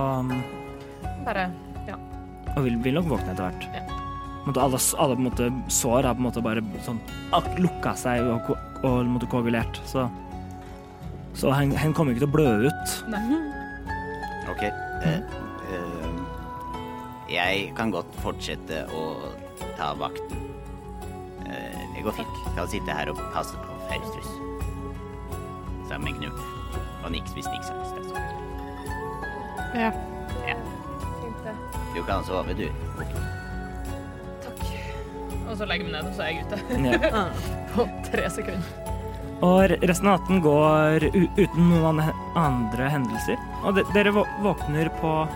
Speaker 4: Bare
Speaker 3: og vil, vil nok våkne etter hvert.
Speaker 4: Ja.
Speaker 3: På en måte, Alle, s- alle på en måte, sår har på en måte bare sånn ak- lukka seg og, ko- og på en måte koagulert, så Så hen, hen kommer ikke til å blø ut.
Speaker 5: Ok. eh, eh, jeg kan godt fortsette å ta vakten. Eh, det går fint. Jeg kan sitte her og passe på Faustus. Sammen med Gnulf. Og niks hvis niks har lyst til det.
Speaker 2: Ja.
Speaker 4: fint, det.
Speaker 5: Du kan sove, du.
Speaker 4: Takk. Og så legger jeg meg ned, og så er jeg ute [LAUGHS]
Speaker 3: Ja.
Speaker 4: på tre sekunder.
Speaker 3: Og re- resten av natten går u uten noen an- andre hendelser. Og de dere vå- våkner på,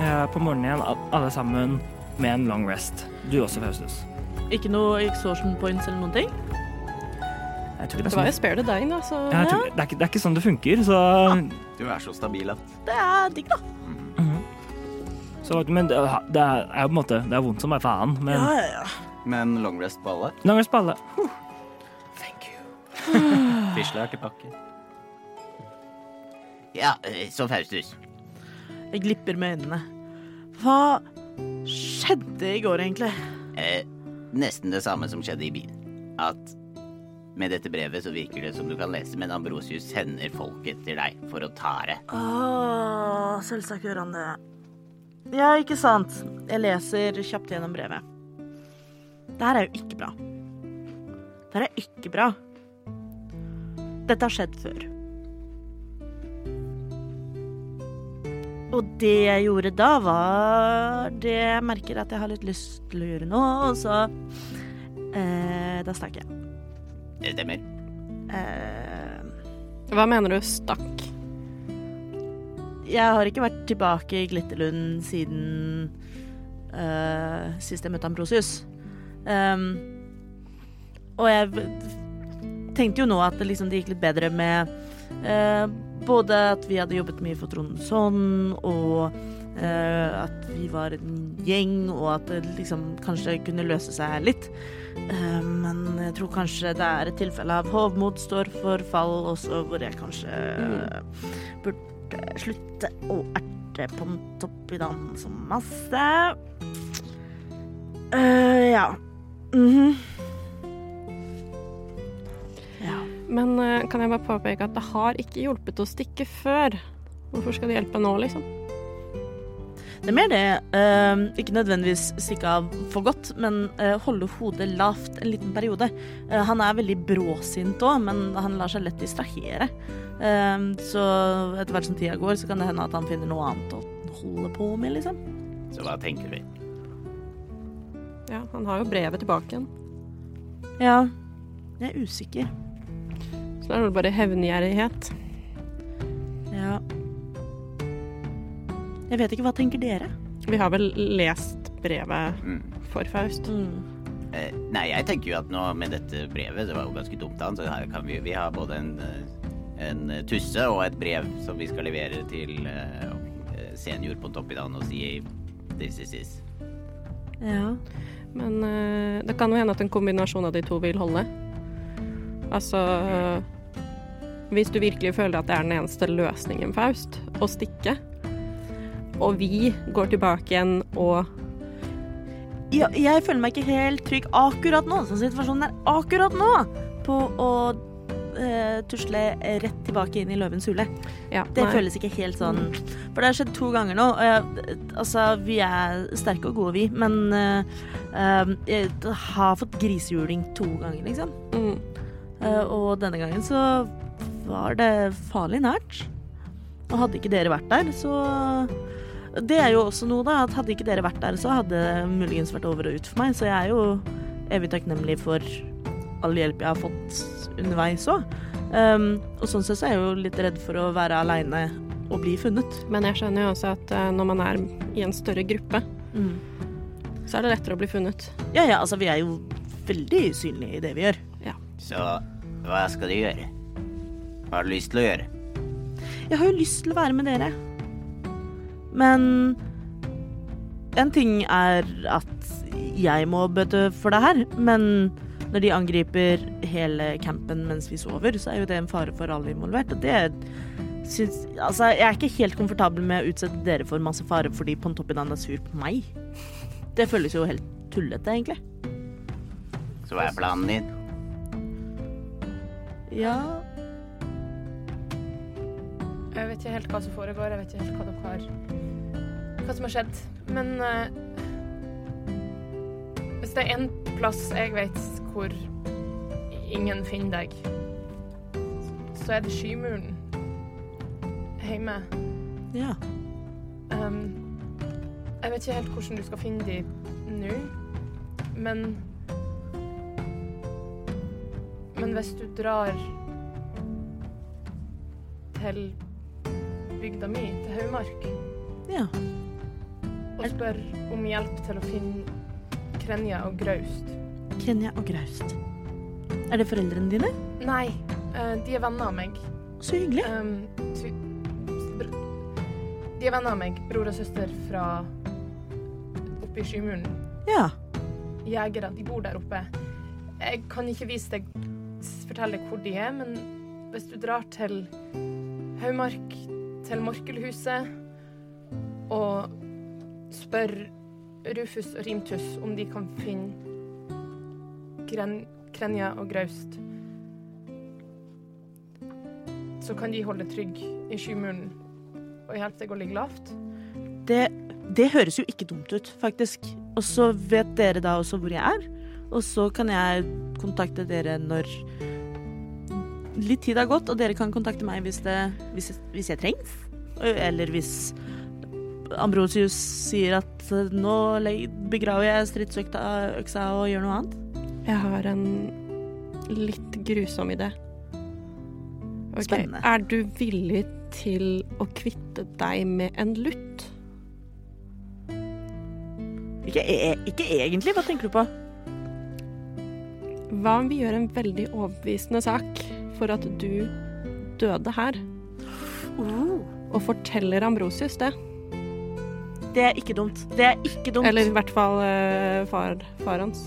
Speaker 3: eh, på morgenen igjen, al- alle sammen, med en long rest. Du også, Faustus.
Speaker 1: Ikke noe exhaustion points eller noen ting?
Speaker 3: Jeg tror ikke
Speaker 2: Det var jo spare the dying, da, så
Speaker 3: Ja, jeg tror, det, er ikke, det er ikke sånn det funker, så,
Speaker 5: Du er så stabil at
Speaker 1: Det er digg, da.
Speaker 3: så Men det, er- det er jo på en måte Det er vondt som bare faen, men
Speaker 5: Men long rest på alle?
Speaker 3: long rest på alle.
Speaker 5: Fisla er tilbake. Ja, eh, så Faustus.
Speaker 1: Jeg glipper med øynene. Hva skjedde i går, egentlig?
Speaker 5: Eh, nesten det samme som skjedde i byen. At med dette brevet så virker det som du kan lese, men Ambrosius sender folket til deg for å ta det.
Speaker 1: Åh, selvsagt gjør han det. Ja, ikke sant. Jeg leser kjapt gjennom brevet. Det her er jo ikke bra. Det her er ikke bra. Dette har skjedd før. Og det jeg gjorde da, var det jeg merker at jeg har litt lyst til å gjøre nå, og så eh, Da stakk jeg.
Speaker 5: Det stemmer.
Speaker 1: Eh,
Speaker 2: Hva mener du stakk?
Speaker 1: Jeg har ikke vært tilbake i Glitterlund siden øh, sist jeg møtte Ambrosius. Ehm, og jeg v- tenkte jo nå at det, liksom, det gikk litt bedre med øh, både at vi hadde jobbet mye for Trond Sonn, og øh, at vi var en gjeng, og at det liksom kanskje kunne løse seg litt. Eh, men jeg tror kanskje det er et tilfelle av hovmod står for fall også, hvor jeg kanskje øh, burde slutte å erte Pontoppidan så masse. Eh, ja. Mhm. ja.
Speaker 2: Men eh, kan jeg bare påpeke at det har ikke hjulpet å stikke før. Hvorfor skal det hjelpe nå, liksom?
Speaker 1: Det er mer det. eh, ikke nødvendigvis stikke av for godt, men eh, holde hodet lavt en liten periode. Eh, han er veldig bråsint òg, men han lar seg lett distrahere. Eh, så etter hvert som tida går, så kan det hende at han finner noe annet å holde på med, liksom.
Speaker 5: Så hva tenker vi?
Speaker 2: Ja, Han har jo brevet tilbake igjen.
Speaker 1: Ja. Jeg er usikker.
Speaker 2: Så da er det vel bare hevngjerrighet.
Speaker 1: Ja. Jeg vet ikke, hva tenker dere?
Speaker 2: Vi har vel lest brevet for Faust.
Speaker 1: Mm.
Speaker 5: Eh, Nei, jeg tenker jo at nå med dette brevet, det var jo ganske dumt av han, så her kan vi, vi har både en, eh, en eh, tusse og et brev som vi skal levere til eh, senior på Toppidan og si this is this.
Speaker 1: Ja.
Speaker 2: Men eh, det kan jo hende at en kombinasjon av de to vil holde. Altså Hvis du virkelig føler at det er den eneste løsningen, Faust, å stikke, og vi går tilbake igjen og
Speaker 1: Ja, jeg føler meg ikke helt trygg akkurat nå, sånn situasjonen er akkurat nå, på å eh, tusle rett tilbake inn i løvens hule.
Speaker 2: ja,
Speaker 1: Det
Speaker 2: nei.
Speaker 1: føles ikke helt sånn For det har skjedd to ganger nå. og jeg- altså, vi er sterke og gode, vi, men eh, eh, jeg har fått grisehjuling to ganger, liksom.
Speaker 2: Mm.
Speaker 1: Eh, og denne gangen så var det farlig nært. Og hadde ikke dere vært der, så Det er jo også noe, da, at hadde ikke dere vært der, så hadde det muligens vært over og ut for meg, så jeg er jo evig takknemlig for all hjelp jeg har fått underveis òg. Um, og sånn sett så er jeg jo litt redd for å være aleine og bli funnet.
Speaker 2: Men jeg skjønner jo også at eh, når man er i en større gruppe, så er det lettere å bli funnet.
Speaker 1: Ja ja, altså vi er jo veldig synlige i det vi gjør.
Speaker 5: Så hva skal du gjøre? Hva har du lyst til å gjøre?
Speaker 1: Jeg har jo lyst til å være med dere. Men en ting er at jeg må bøte for det her, men når de angriper hele campen mens vi sover, så er jo det en fare for alle involvert. Og det syns Altså, jeg er ikke helt komfortabel med å utsette dere for masse fare fordi Pontoppidan er sur på meg. Det føles jo helt tullete, egentlig.
Speaker 5: Så hva er planen din?
Speaker 1: Ja
Speaker 4: Jeg vet ikke helt hva som foregår, jeg vet ikke helt hva dere har Hva som har skjedd. Men eh, hvis det er én plass jeg vet hvor ingen finner deg, så er det Skymuren hjemme.
Speaker 1: Ja.
Speaker 4: Um, jeg vet ikke helt hvordan du skal finne de nå, men Men hvis du drar til bygda mi, til Haumark,
Speaker 1: Ja.
Speaker 4: og spør om hjelp til å finne Krenja og Graust
Speaker 1: Krenja og Graust. Er det foreldrene dine?
Speaker 4: Nei, eh, de er venner av meg.
Speaker 1: Så hyggelig.
Speaker 4: Um, tvi- br- de er venner av meg, bror og søster fra oppe i Skymuren.
Speaker 1: Ja.
Speaker 4: jegere, de bor der oppe. Jeg kan ikke vise deg, s- fortelle deg hvor de er, men hvis du drar til Haumark, til Morkelhuset, og spør Rufus og Rimtus om de kan finne Gren Krenja og Graust, så kan de holde deg trygg i skymuren og hjelpe deg å ligge lavt.
Speaker 1: det, det høres jo ikke dumt ut, faktisk. Og så vet dere da også hvor jeg er. Og så kan jeg kontakte dere når litt tid har gått, og dere kan kontakte meg hvis, det, hvis, hvis jeg trengs. Eller hvis Ambrosius sier at nå leg- begraver jeg stridsøksa og gjør noe annet.
Speaker 2: Jeg har en litt grusom idé. Ok,
Speaker 1: Spennende.
Speaker 2: Er du villig til å kvitte deg med en lutt?
Speaker 1: Ikke, e ikke egentlig, hva tenker du på?
Speaker 2: Hva om vi gjør en veldig overbevisende sak for at du døde her,
Speaker 1: Oh,
Speaker 2: og forteller Ambrosius det?
Speaker 1: Det er ikke dumt. Det er ikke dumt.
Speaker 2: Eller i hvert fall eh, far, far hans.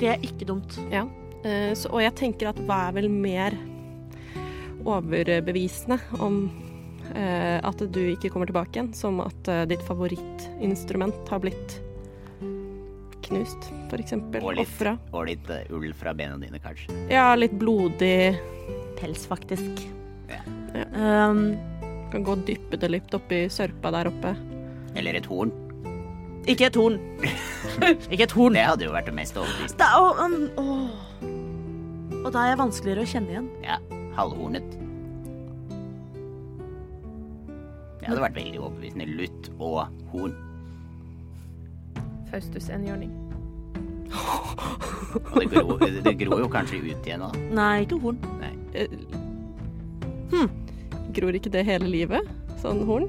Speaker 1: Det er ikke dumt.
Speaker 2: Eh, så, og jeg tenker at hva er vel mer overbevisende om eh, at du ikke kommer tilbake igjen, som at eh, ditt favorittinstrument har blitt knust, for eksempel.
Speaker 5: Og litt.
Speaker 2: Ofra.
Speaker 5: Og litt eh, ull fra bena dine, kanskje?
Speaker 2: Ja, litt blodig.
Speaker 1: Pels, faktisk.
Speaker 5: Ja.
Speaker 1: Um,
Speaker 2: Kan gå og dyppe det litt oppi sørpa der oppe.
Speaker 5: Eller et horn?
Speaker 1: Ikke et horn. ikke et horn.
Speaker 5: Det hadde jo vært det mest overbevisende.
Speaker 1: Da, å, um, åh. Og da er jeg vanskeligere å kjenne igjen.
Speaker 5: Ja, halvhornet. Det hadde vært veldig overbevisende. Lutt og horn.
Speaker 4: Faustus en hjørning.
Speaker 5: Og det gror, det gror jo kanskje ut igjen òg.
Speaker 1: Nei, ikke horn.
Speaker 2: Eh, hm. Gror ikke det hele livet? Sånn horn?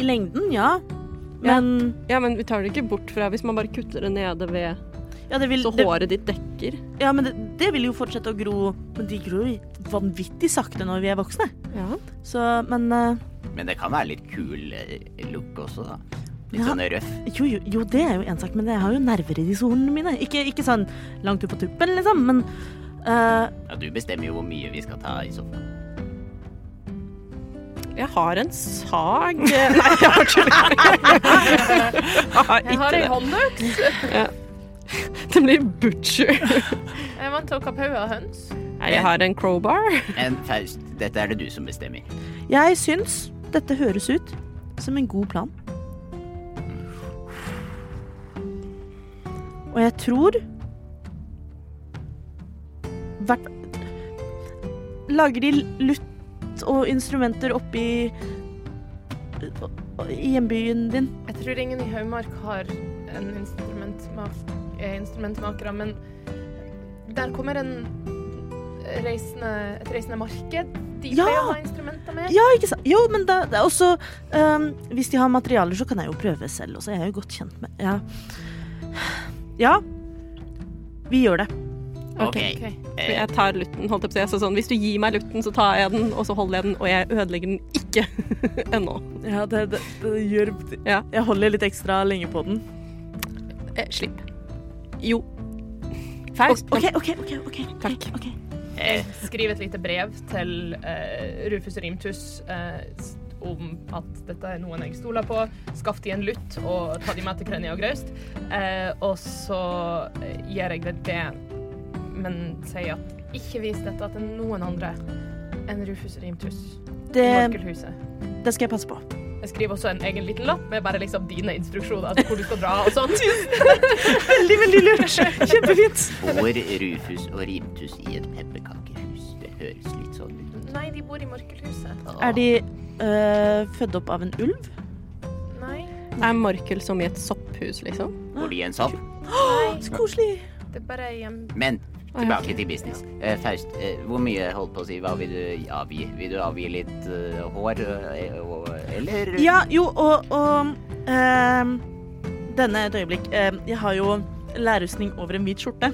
Speaker 1: I lengden, ja.
Speaker 2: Ja.
Speaker 1: Men
Speaker 2: Ja, men vi tar det ikke bort fra hvis man bare kutter det nede ved
Speaker 1: Ja, det vil,
Speaker 2: Så
Speaker 1: det,
Speaker 2: håret ditt dekker.
Speaker 1: ja, men det, det vil jo fortsette å gro Men de gror jo vanvittig sakte når vi er voksne.
Speaker 2: Ja.
Speaker 1: Så, men eh,
Speaker 5: Men det kan være litt kul eh, look også, da. Litt
Speaker 1: Ja.
Speaker 5: sånn røff.
Speaker 1: jo, jo, jo, det er jo én sak, men jeg har jo nerver i disse hornene mine. Ikke, ikke sånn langt ut på tuppen, liksom, men eh,
Speaker 5: Ja, du bestemmer jo hvor mye vi skal ta i sofaen.
Speaker 2: Jeg har en sag Nei, jeg har ikke Jeg har
Speaker 4: Jeg har
Speaker 2: ikke
Speaker 4: ei
Speaker 2: det.
Speaker 4: håndøks.
Speaker 2: Det blir butcher.
Speaker 4: Jeg er vant til å kappe hodet av høns.
Speaker 2: Nei, jeg har en crowbar.
Speaker 5: Men Faust, dette er det du som bestemmer.
Speaker 1: jeg syns dette høres ut som en god plan. Og jeg tror hvert Lager de lutt og instrumenter oppi i hjembyen din?
Speaker 4: Jeg tror ingen i Haumark har en instrumentmak, eh, instrumentmakere, men der kommer en reisende, et reisende marked. De
Speaker 1: Ja!
Speaker 4: pleier å ha instrumenter med.
Speaker 1: Ja, ikke sant? Jo, men da, det er også øhm, Hvis de har materialer, så kan jeg jo prøve selv også. Jeg er jo godt kjent med Ja. ja. Vi gjør det.
Speaker 5: Ok.
Speaker 4: Ok.
Speaker 2: Så Jeg tar lutten, holdt jeg på å si. Så sånn, hvis du gir meg lutten, så tar jeg den, og så holder jeg den, og jeg ødelegger den ikke [LAUGHS] ennå.
Speaker 1: Ja, det, gjør
Speaker 2: Ja.
Speaker 1: Jeg holder litt ekstra lenge på den.
Speaker 2: Eh, slipp. Jo. Faust.
Speaker 1: OK, OK. ok, ok.
Speaker 2: Takk.
Speaker 1: ok.
Speaker 4: Jeg skriver et lite brev til eh, Rufus Rimtus eh, s- om at dette er noen jeg stoler på. Skaff de en lutt og ta de med til Krønja og Graust. Eh, og så eh, gir jeg det det, men sier at ikke vis dette til noen andre enn Rufus Rimtus i
Speaker 1: Det,
Speaker 4: Morkelhuset.
Speaker 1: det skal jeg passe på.
Speaker 4: Jeg skriver også en egen liten lapp med bare liksom dine instruksjoner til hvor du skal dra og sånt.
Speaker 1: Veldig, veldig [LAUGHS] lurt. Kjempefint.
Speaker 5: Får Rufus og Rimtus i et pepperkakehus. Det høres litt sånn ut.
Speaker 4: [LAUGHS] Nei, de bor i Morkelhuset.
Speaker 5: Åh,
Speaker 1: Er de øh, født opp av en ulv?
Speaker 4: Nei,
Speaker 2: Er Morkel som i et sopphus, liksom?
Speaker 5: Bor de i en sopp?
Speaker 1: Så koselig.
Speaker 4: det er bare hjem...
Speaker 5: Men
Speaker 2: Ah, ja, ok.
Speaker 5: tilbake til business. Eh, Faust, eh, hvor mye holdt på å si? Hva vil du avgi? Vil du avgi litt eh, hår? eh, og- eller
Speaker 1: Ja, jo, og, og ehm, Denne et øyeblikk. Ehm, jeg har jo lærrustning over en hvit skjorte.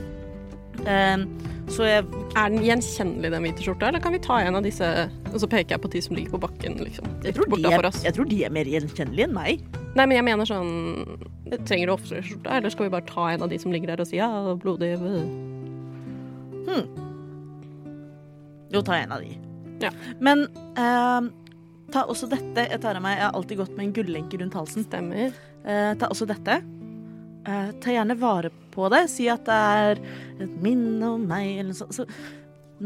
Speaker 1: Ehm, så jeg
Speaker 2: Er den gjenkjennelig, den hvite skjorta, eller kan vi ta en av disse, og så peker jeg på de som ligger på bakken, liksom?
Speaker 1: jeg tror,
Speaker 2: Borta
Speaker 1: de er,
Speaker 2: for oss.
Speaker 1: jeg tror de er mer gjenkjennelige enn meg.
Speaker 2: Nei, men jeg mener sånn Trenger du offiserskjorta, eller skal vi bare ta en av de som ligger der og si ja, blodig øh.
Speaker 1: Jo, ta en av de.
Speaker 2: Ja.
Speaker 1: Men ehm, ta også dette. Jeg tar av meg Jeg har alltid gått med en gullenke rundt halsen.
Speaker 2: Stemmer.
Speaker 1: Eh, ta også dette. Eh, ta gjerne vare på det. Si at det er et minne om meg, eller noe sånt. Så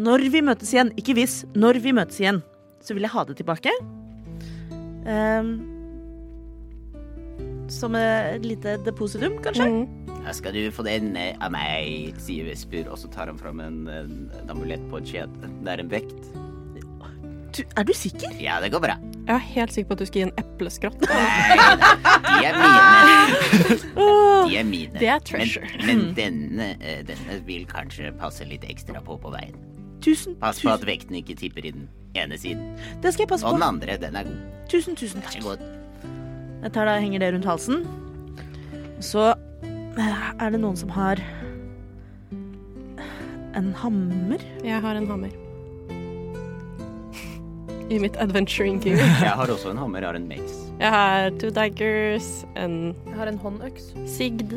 Speaker 1: når vi møtes igjen, ikke hvis, når vi møtes igjen, så vil jeg ha det tilbake. Eh, som et lite depositum, kanskje?
Speaker 2: Mm.
Speaker 5: Her skal du få den eh, av meg, sier Vesper, og så tar han fram en, en, en amulett på et kjede. Det er en vekt.
Speaker 1: Du, er du sikker?
Speaker 5: Ja, det går bra.
Speaker 2: Jeg er helt sikker på at du skal gi en epleskrott.
Speaker 5: De er mine.
Speaker 2: [LAUGHS]
Speaker 1: Åh,
Speaker 5: De er mine.
Speaker 2: Det er treasure.
Speaker 5: Men, men denne, eh, denne vil kanskje passe litt ekstra på på veien.
Speaker 1: tusen,
Speaker 5: Pass på at
Speaker 1: tusen
Speaker 5: vekten ikke tipper i den ene siden.
Speaker 1: Det skal jeg passe
Speaker 5: Og den
Speaker 1: på.
Speaker 5: andre, den er god.
Speaker 1: Tusen, tusen takk.
Speaker 5: Vær så god.
Speaker 1: Jeg tar da, henger det rundt halsen. Så eh, er det noen som har en hammer?
Speaker 2: [LAUGHS] Jeg har en hammer. I mitt adventuring gear.
Speaker 5: Jeg har også en hammer, har en mace.
Speaker 2: Jeg har two daggers, en
Speaker 4: Jeg har en håndøks.
Speaker 2: sigd.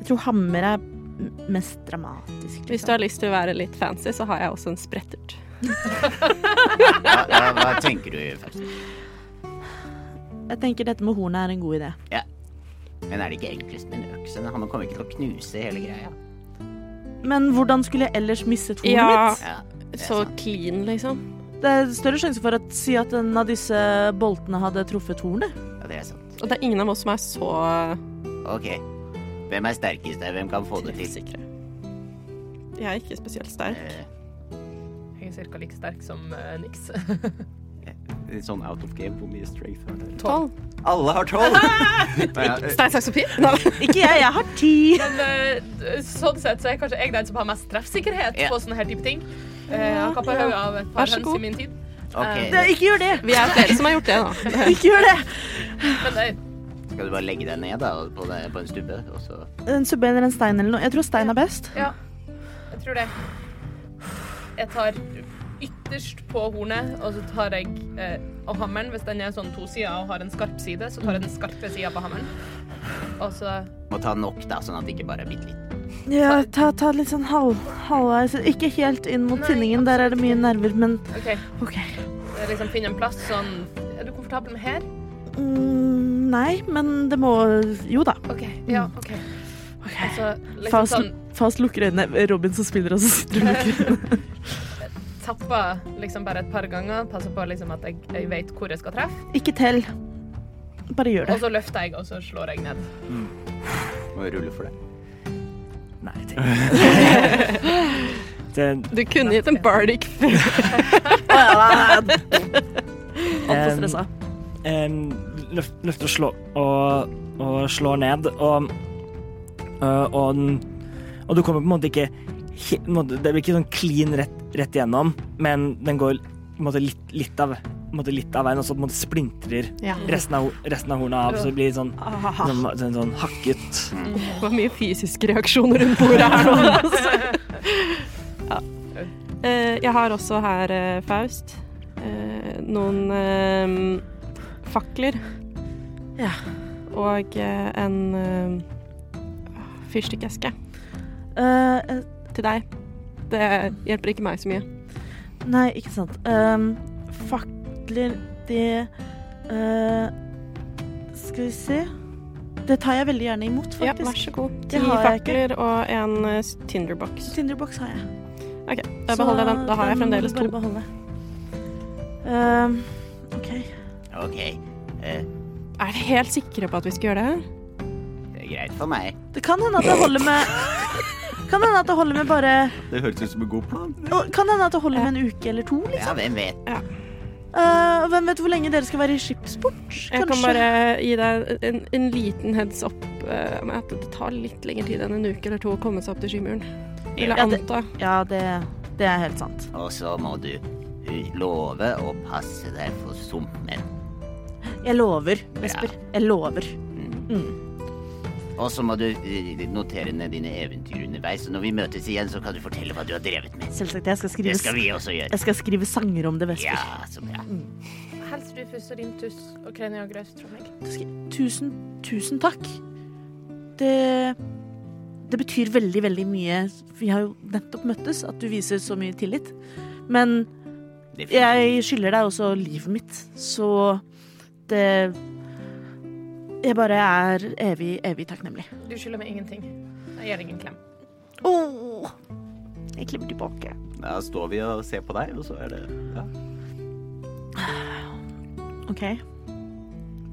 Speaker 1: Jeg tror hammer er m- mest dramatisk. liksom.
Speaker 2: Hvis du har lyst til å være litt fancy, så har jeg også en sprettert.
Speaker 5: Hva, hva, hva tenker du først?
Speaker 1: Jeg tenker dette med hornet er en god idé.
Speaker 5: Men er det ikke enklest med en øks? En hammer kommer ikke til å knuse hele greia.
Speaker 1: Men hvordan skulle jeg ellers mistet hornet
Speaker 2: Ja,
Speaker 1: mitt?
Speaker 5: Ja, det er
Speaker 2: så
Speaker 5: sant.
Speaker 2: clean, liksom.
Speaker 1: Det er større sjanse for at si at en av disse boltene hadde truffet hornet.
Speaker 5: Ja, det er sant.
Speaker 2: Og det er ingen av oss som er så
Speaker 5: Ok. Hvem er sterkest der? Hvem kan få det til?
Speaker 2: treffsikre. Jeg er ikke spesielt sterk.
Speaker 5: Eh,
Speaker 4: Jeg er cirka like sterk som eh, Nix. [LAUGHS]
Speaker 5: Litt sånn out of game. Hvor mye strength har dere?
Speaker 2: Tolv.
Speaker 5: Alle har tolv! Ja,
Speaker 2: Stein, saks, papir? Nei.
Speaker 1: Ikke jeg, jeg har ti.
Speaker 2: [LAUGHS]
Speaker 4: Men eh, sånn sett så er kanskje jeg den som har mest treffsikkerhet
Speaker 5: Ja.
Speaker 4: på sånne her type ting. Eh, jeg har kappa hodet av et par
Speaker 2: Vær så
Speaker 4: høns
Speaker 2: god.
Speaker 4: i min tid.
Speaker 5: Ok,
Speaker 1: Det, ikke gjør det!
Speaker 2: Vi er flere som har gjort det, da.
Speaker 1: Ikke gjør det!
Speaker 4: Men eh, det,
Speaker 5: skal du bare legge deg ned da, på, det, på en stubbe, og så
Speaker 1: En subbe eller en stein eller noe. Jeg tror stein er best.
Speaker 4: ja, jeg tror det. Jeg tar ytterst på hornet, og så tar jeg eh, og hammeren, hvis den er sånn tosida og har en skarp side, så tar jeg den skarpe sida på hammeren. Og så
Speaker 5: må ta nok, da, sånn at det ikke bare er bitte litt.
Speaker 1: Ja, ta, ta litt sånn halv, halvveis. Ikke helt inn mot
Speaker 4: Nei,
Speaker 1: tinningen, der er det mye nerver, men
Speaker 4: OK,
Speaker 1: OK.
Speaker 4: jeg liksom finne en plass sånn Er du komfortabel med her?
Speaker 1: Mm, nei, men det må Jo da.
Speaker 4: OK. Ja, OK. Og så liksom
Speaker 1: Fast,
Speaker 4: sånn
Speaker 1: fast lukker øynene. Robin som spiller, og så sitter hun og lukker øynene.
Speaker 4: tappa liksom bare et par ganger, passer på liksom at jeg, jeg vet hvor jeg skal treffe,
Speaker 1: Ikke tell. Bare gjør
Speaker 4: og
Speaker 1: det.
Speaker 4: så løfter jeg, og så slår jeg ned.
Speaker 5: Må jo rulle for det.
Speaker 3: Nei, tenk. [LAUGHS] det,
Speaker 2: Du kunne gitt en bardic [LAUGHS] før.
Speaker 1: [LAUGHS] Altfor stressa.
Speaker 3: em, eh, løft, løfter og slår og, og slår ned, og, og, og, den- og du kommer på en måte ikke he- på en måte, Det blir ikke sånn clean rett, rett igjennom, men den går på en måte, litt, litt, av, på en måte, litt av veien, og så på en måte splintrer
Speaker 2: Ja.
Speaker 3: resten av, resten av hornet av, så det blir sånn, sånn, sånn, sånn hakket.
Speaker 2: Det var mye fysiske reaksjoner rundt bordet her nå. altså. [LAUGHS] ja. Eh, Jeg har også her, eh, Faust, eh, noen eh, fakler.
Speaker 1: Ja.
Speaker 2: Og eh, en eh, fyrstikkeske
Speaker 1: Eh, eh,
Speaker 2: til deg. Det hjelper ikke meg så mye.
Speaker 1: nei, ikke sant. Ehm, fakler, det eh, Skal vi se. Det tar jeg veldig gjerne imot,
Speaker 2: Ja, vær
Speaker 1: faktisk.
Speaker 2: så god.
Speaker 1: Det
Speaker 2: Ti
Speaker 1: har jeg
Speaker 2: fakler og en eh, tinderbox.
Speaker 1: Tinderbox har jeg.
Speaker 2: OK, da beholder jeg den. Da har jeg fremdeles to.
Speaker 1: Ehm, OK.
Speaker 5: OK, eh,
Speaker 2: Er dere helt sikre på at vi skal gjøre det her?
Speaker 5: det er greit for meg.
Speaker 1: Det kan hende at det holder med
Speaker 2: [LAUGHS]
Speaker 1: Kan hende at det holder med bare
Speaker 9: Det høres ut som en god plan.
Speaker 1: Å, Kan hende at det holder med en uke eller to. Liksom.
Speaker 5: Ja, hvem vet.
Speaker 1: Eh, hvem vet hvor lenge dere skal være i skipsport?
Speaker 2: Jeg
Speaker 1: kanskje?
Speaker 2: kan bare gi deg en, en liten heads up eh, med at det tar litt lengre tid enn en uke eller to å komme seg opp til Skymuren. Vil jeg
Speaker 1: Ja, det-
Speaker 2: anta.
Speaker 1: Ja, det, det er helt sant.
Speaker 5: Og så må du eh, love å passe deg for sumpmenn.
Speaker 1: Jeg lover, Vesper. Jeg lover.
Speaker 5: Og så må du eh, notere ned dine eventyr underveis, og når vi møtes igjen, så kan du fortelle hva du har drevet med.
Speaker 1: Selvsagt. Jeg skal
Speaker 5: Det
Speaker 1: skrive,
Speaker 5: skal vi også gjøre.
Speaker 1: jeg skal skrive sanger om det, Vesper.
Speaker 5: Ja, så bra.
Speaker 4: Hils du først og rim tuss og kreni og grøs, tror jeg.
Speaker 1: Tusen, tusen takk. Det Det betyr veldig, veldig mye. Vi har jo nettopp møttes, at du viser så mye tillit. Men
Speaker 5: Det er fint.
Speaker 1: jeg skylder deg også livet mitt, så det Jeg bare er evig, evig takknemlig.
Speaker 4: Du skylder meg ingenting. Jeg gir deg en klem.
Speaker 1: Åh, jeg klemmer tilbake.
Speaker 9: Da står vi og ser på deg, og så er det ja.
Speaker 1: OK.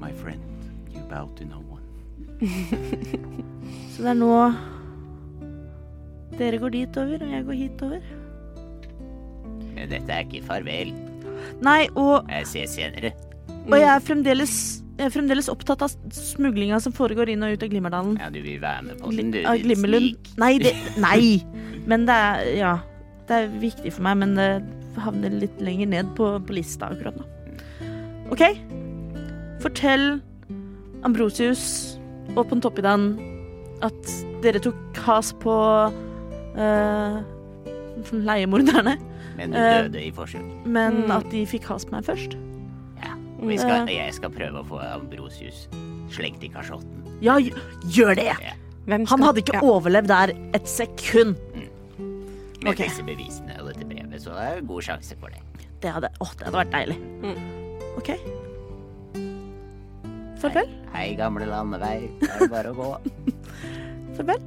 Speaker 9: My friend, you bow to no one.
Speaker 1: Så det er nå Dere går dit over, og jeg går hit over.
Speaker 5: Men dette er ikke farvel.
Speaker 1: Nei, og,
Speaker 5: Jeg ses senere.
Speaker 1: og jeg, er
Speaker 5: Mm.
Speaker 1: fremdeles, jeg er fremdeles opptatt av smuglinga som foregår inn og ut av Glimmerdalen.
Speaker 5: Ja, du vil være med på den, du.
Speaker 1: Gli- Av
Speaker 5: din
Speaker 1: Glimmerlund.
Speaker 5: snik.
Speaker 1: Nei, det, nei! Men det er Ja. Det er viktig for meg, men det havner litt lenger ned på, på lista akkurat nå. OK? Fortell Ambrosius og Pontoppidan at dere tok has på eh, leiemorderne,
Speaker 5: Men du
Speaker 1: Eh.
Speaker 5: døde i forsøk.
Speaker 1: men
Speaker 2: Mm.
Speaker 1: at de fikk has på meg først.
Speaker 5: Ja.
Speaker 2: Mm.
Speaker 5: Og jeg skal, jeg skal prøve å få Ambrosius slengt i kasjotten.
Speaker 1: Ja, gj- gjør det!
Speaker 2: Mm. Hvem skal-
Speaker 1: Han hadde ikke
Speaker 2: ja.
Speaker 1: overlevd der et sekund.
Speaker 5: Med
Speaker 1: Ok.
Speaker 5: disse bevisene og dette brevet, så er det en god sjanse for det.
Speaker 1: Det hadde, åh, det hadde vært deilig.
Speaker 2: Mm.
Speaker 1: OK. Farvel.
Speaker 5: Hei, gamle landevei. Da er det bare å gå.
Speaker 1: Farvel.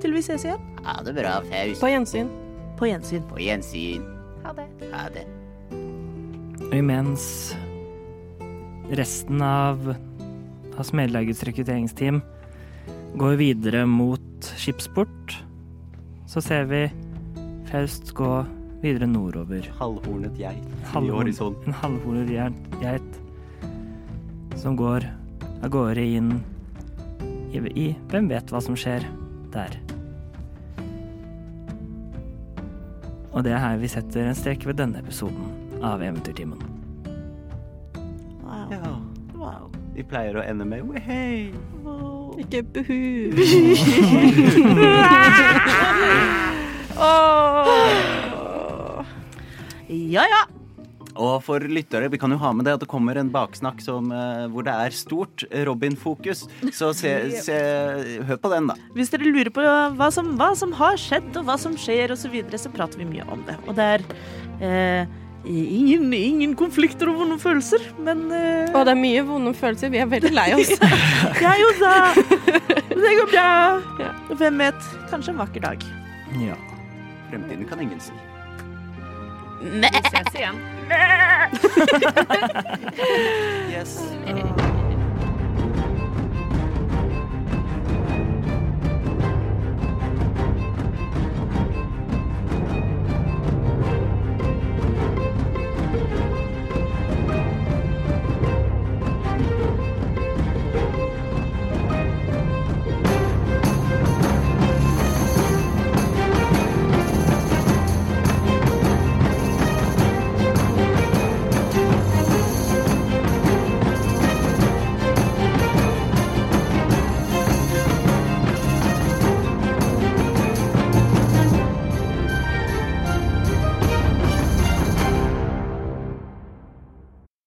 Speaker 1: Til vi ses igjen.
Speaker 5: Ha det bra, Faust.
Speaker 2: På gjensyn.
Speaker 1: På gjensyn.
Speaker 5: På gjensyn. Ha det.
Speaker 3: Imens resten av av Smedlagets rekrutteringsteam går videre mot skipsport, så ser vi Faust gå videre nordover.
Speaker 9: Halvhornet geit i
Speaker 3: Halvhorn-
Speaker 9: horisonten.
Speaker 3: En halvhodet geit- geit som går av gårde inn i, i Hvem vet hva som skjer der. Og det er her vi setter en strek ved denne episoden. av Eventyrtimen.
Speaker 1: Wow.
Speaker 5: Ja,
Speaker 1: wow.
Speaker 5: vi pleier å ende med Wehei!
Speaker 1: wow.
Speaker 10: Ikke buhu.
Speaker 1: Ja, ja.
Speaker 5: Og for lyttere, vi kan jo ha med det at det kommer en baksnakk som, eh, hvor det er stort Robin-fokus. Så se, se, hør på den, da.
Speaker 1: Hvis dere lurer på hva som, hva som har skjedd, og hva som skjer, og så, videre, så prater vi mye om det. Og det er eh, ingen, ingen konflikter og vonde følelser, men eh,
Speaker 10: Og det er mye vonde følelser. Vi er veldig lei
Speaker 1: [LAUGHS]
Speaker 10: oss.
Speaker 1: det er jo da Det går bra.
Speaker 10: Ja.
Speaker 1: Hvem vet? Kanskje en vakker dag.
Speaker 3: Ja.
Speaker 5: Fremtiden kan ingen si.
Speaker 4: Vi ses igjen.
Speaker 5: Yes.
Speaker 4: Åh.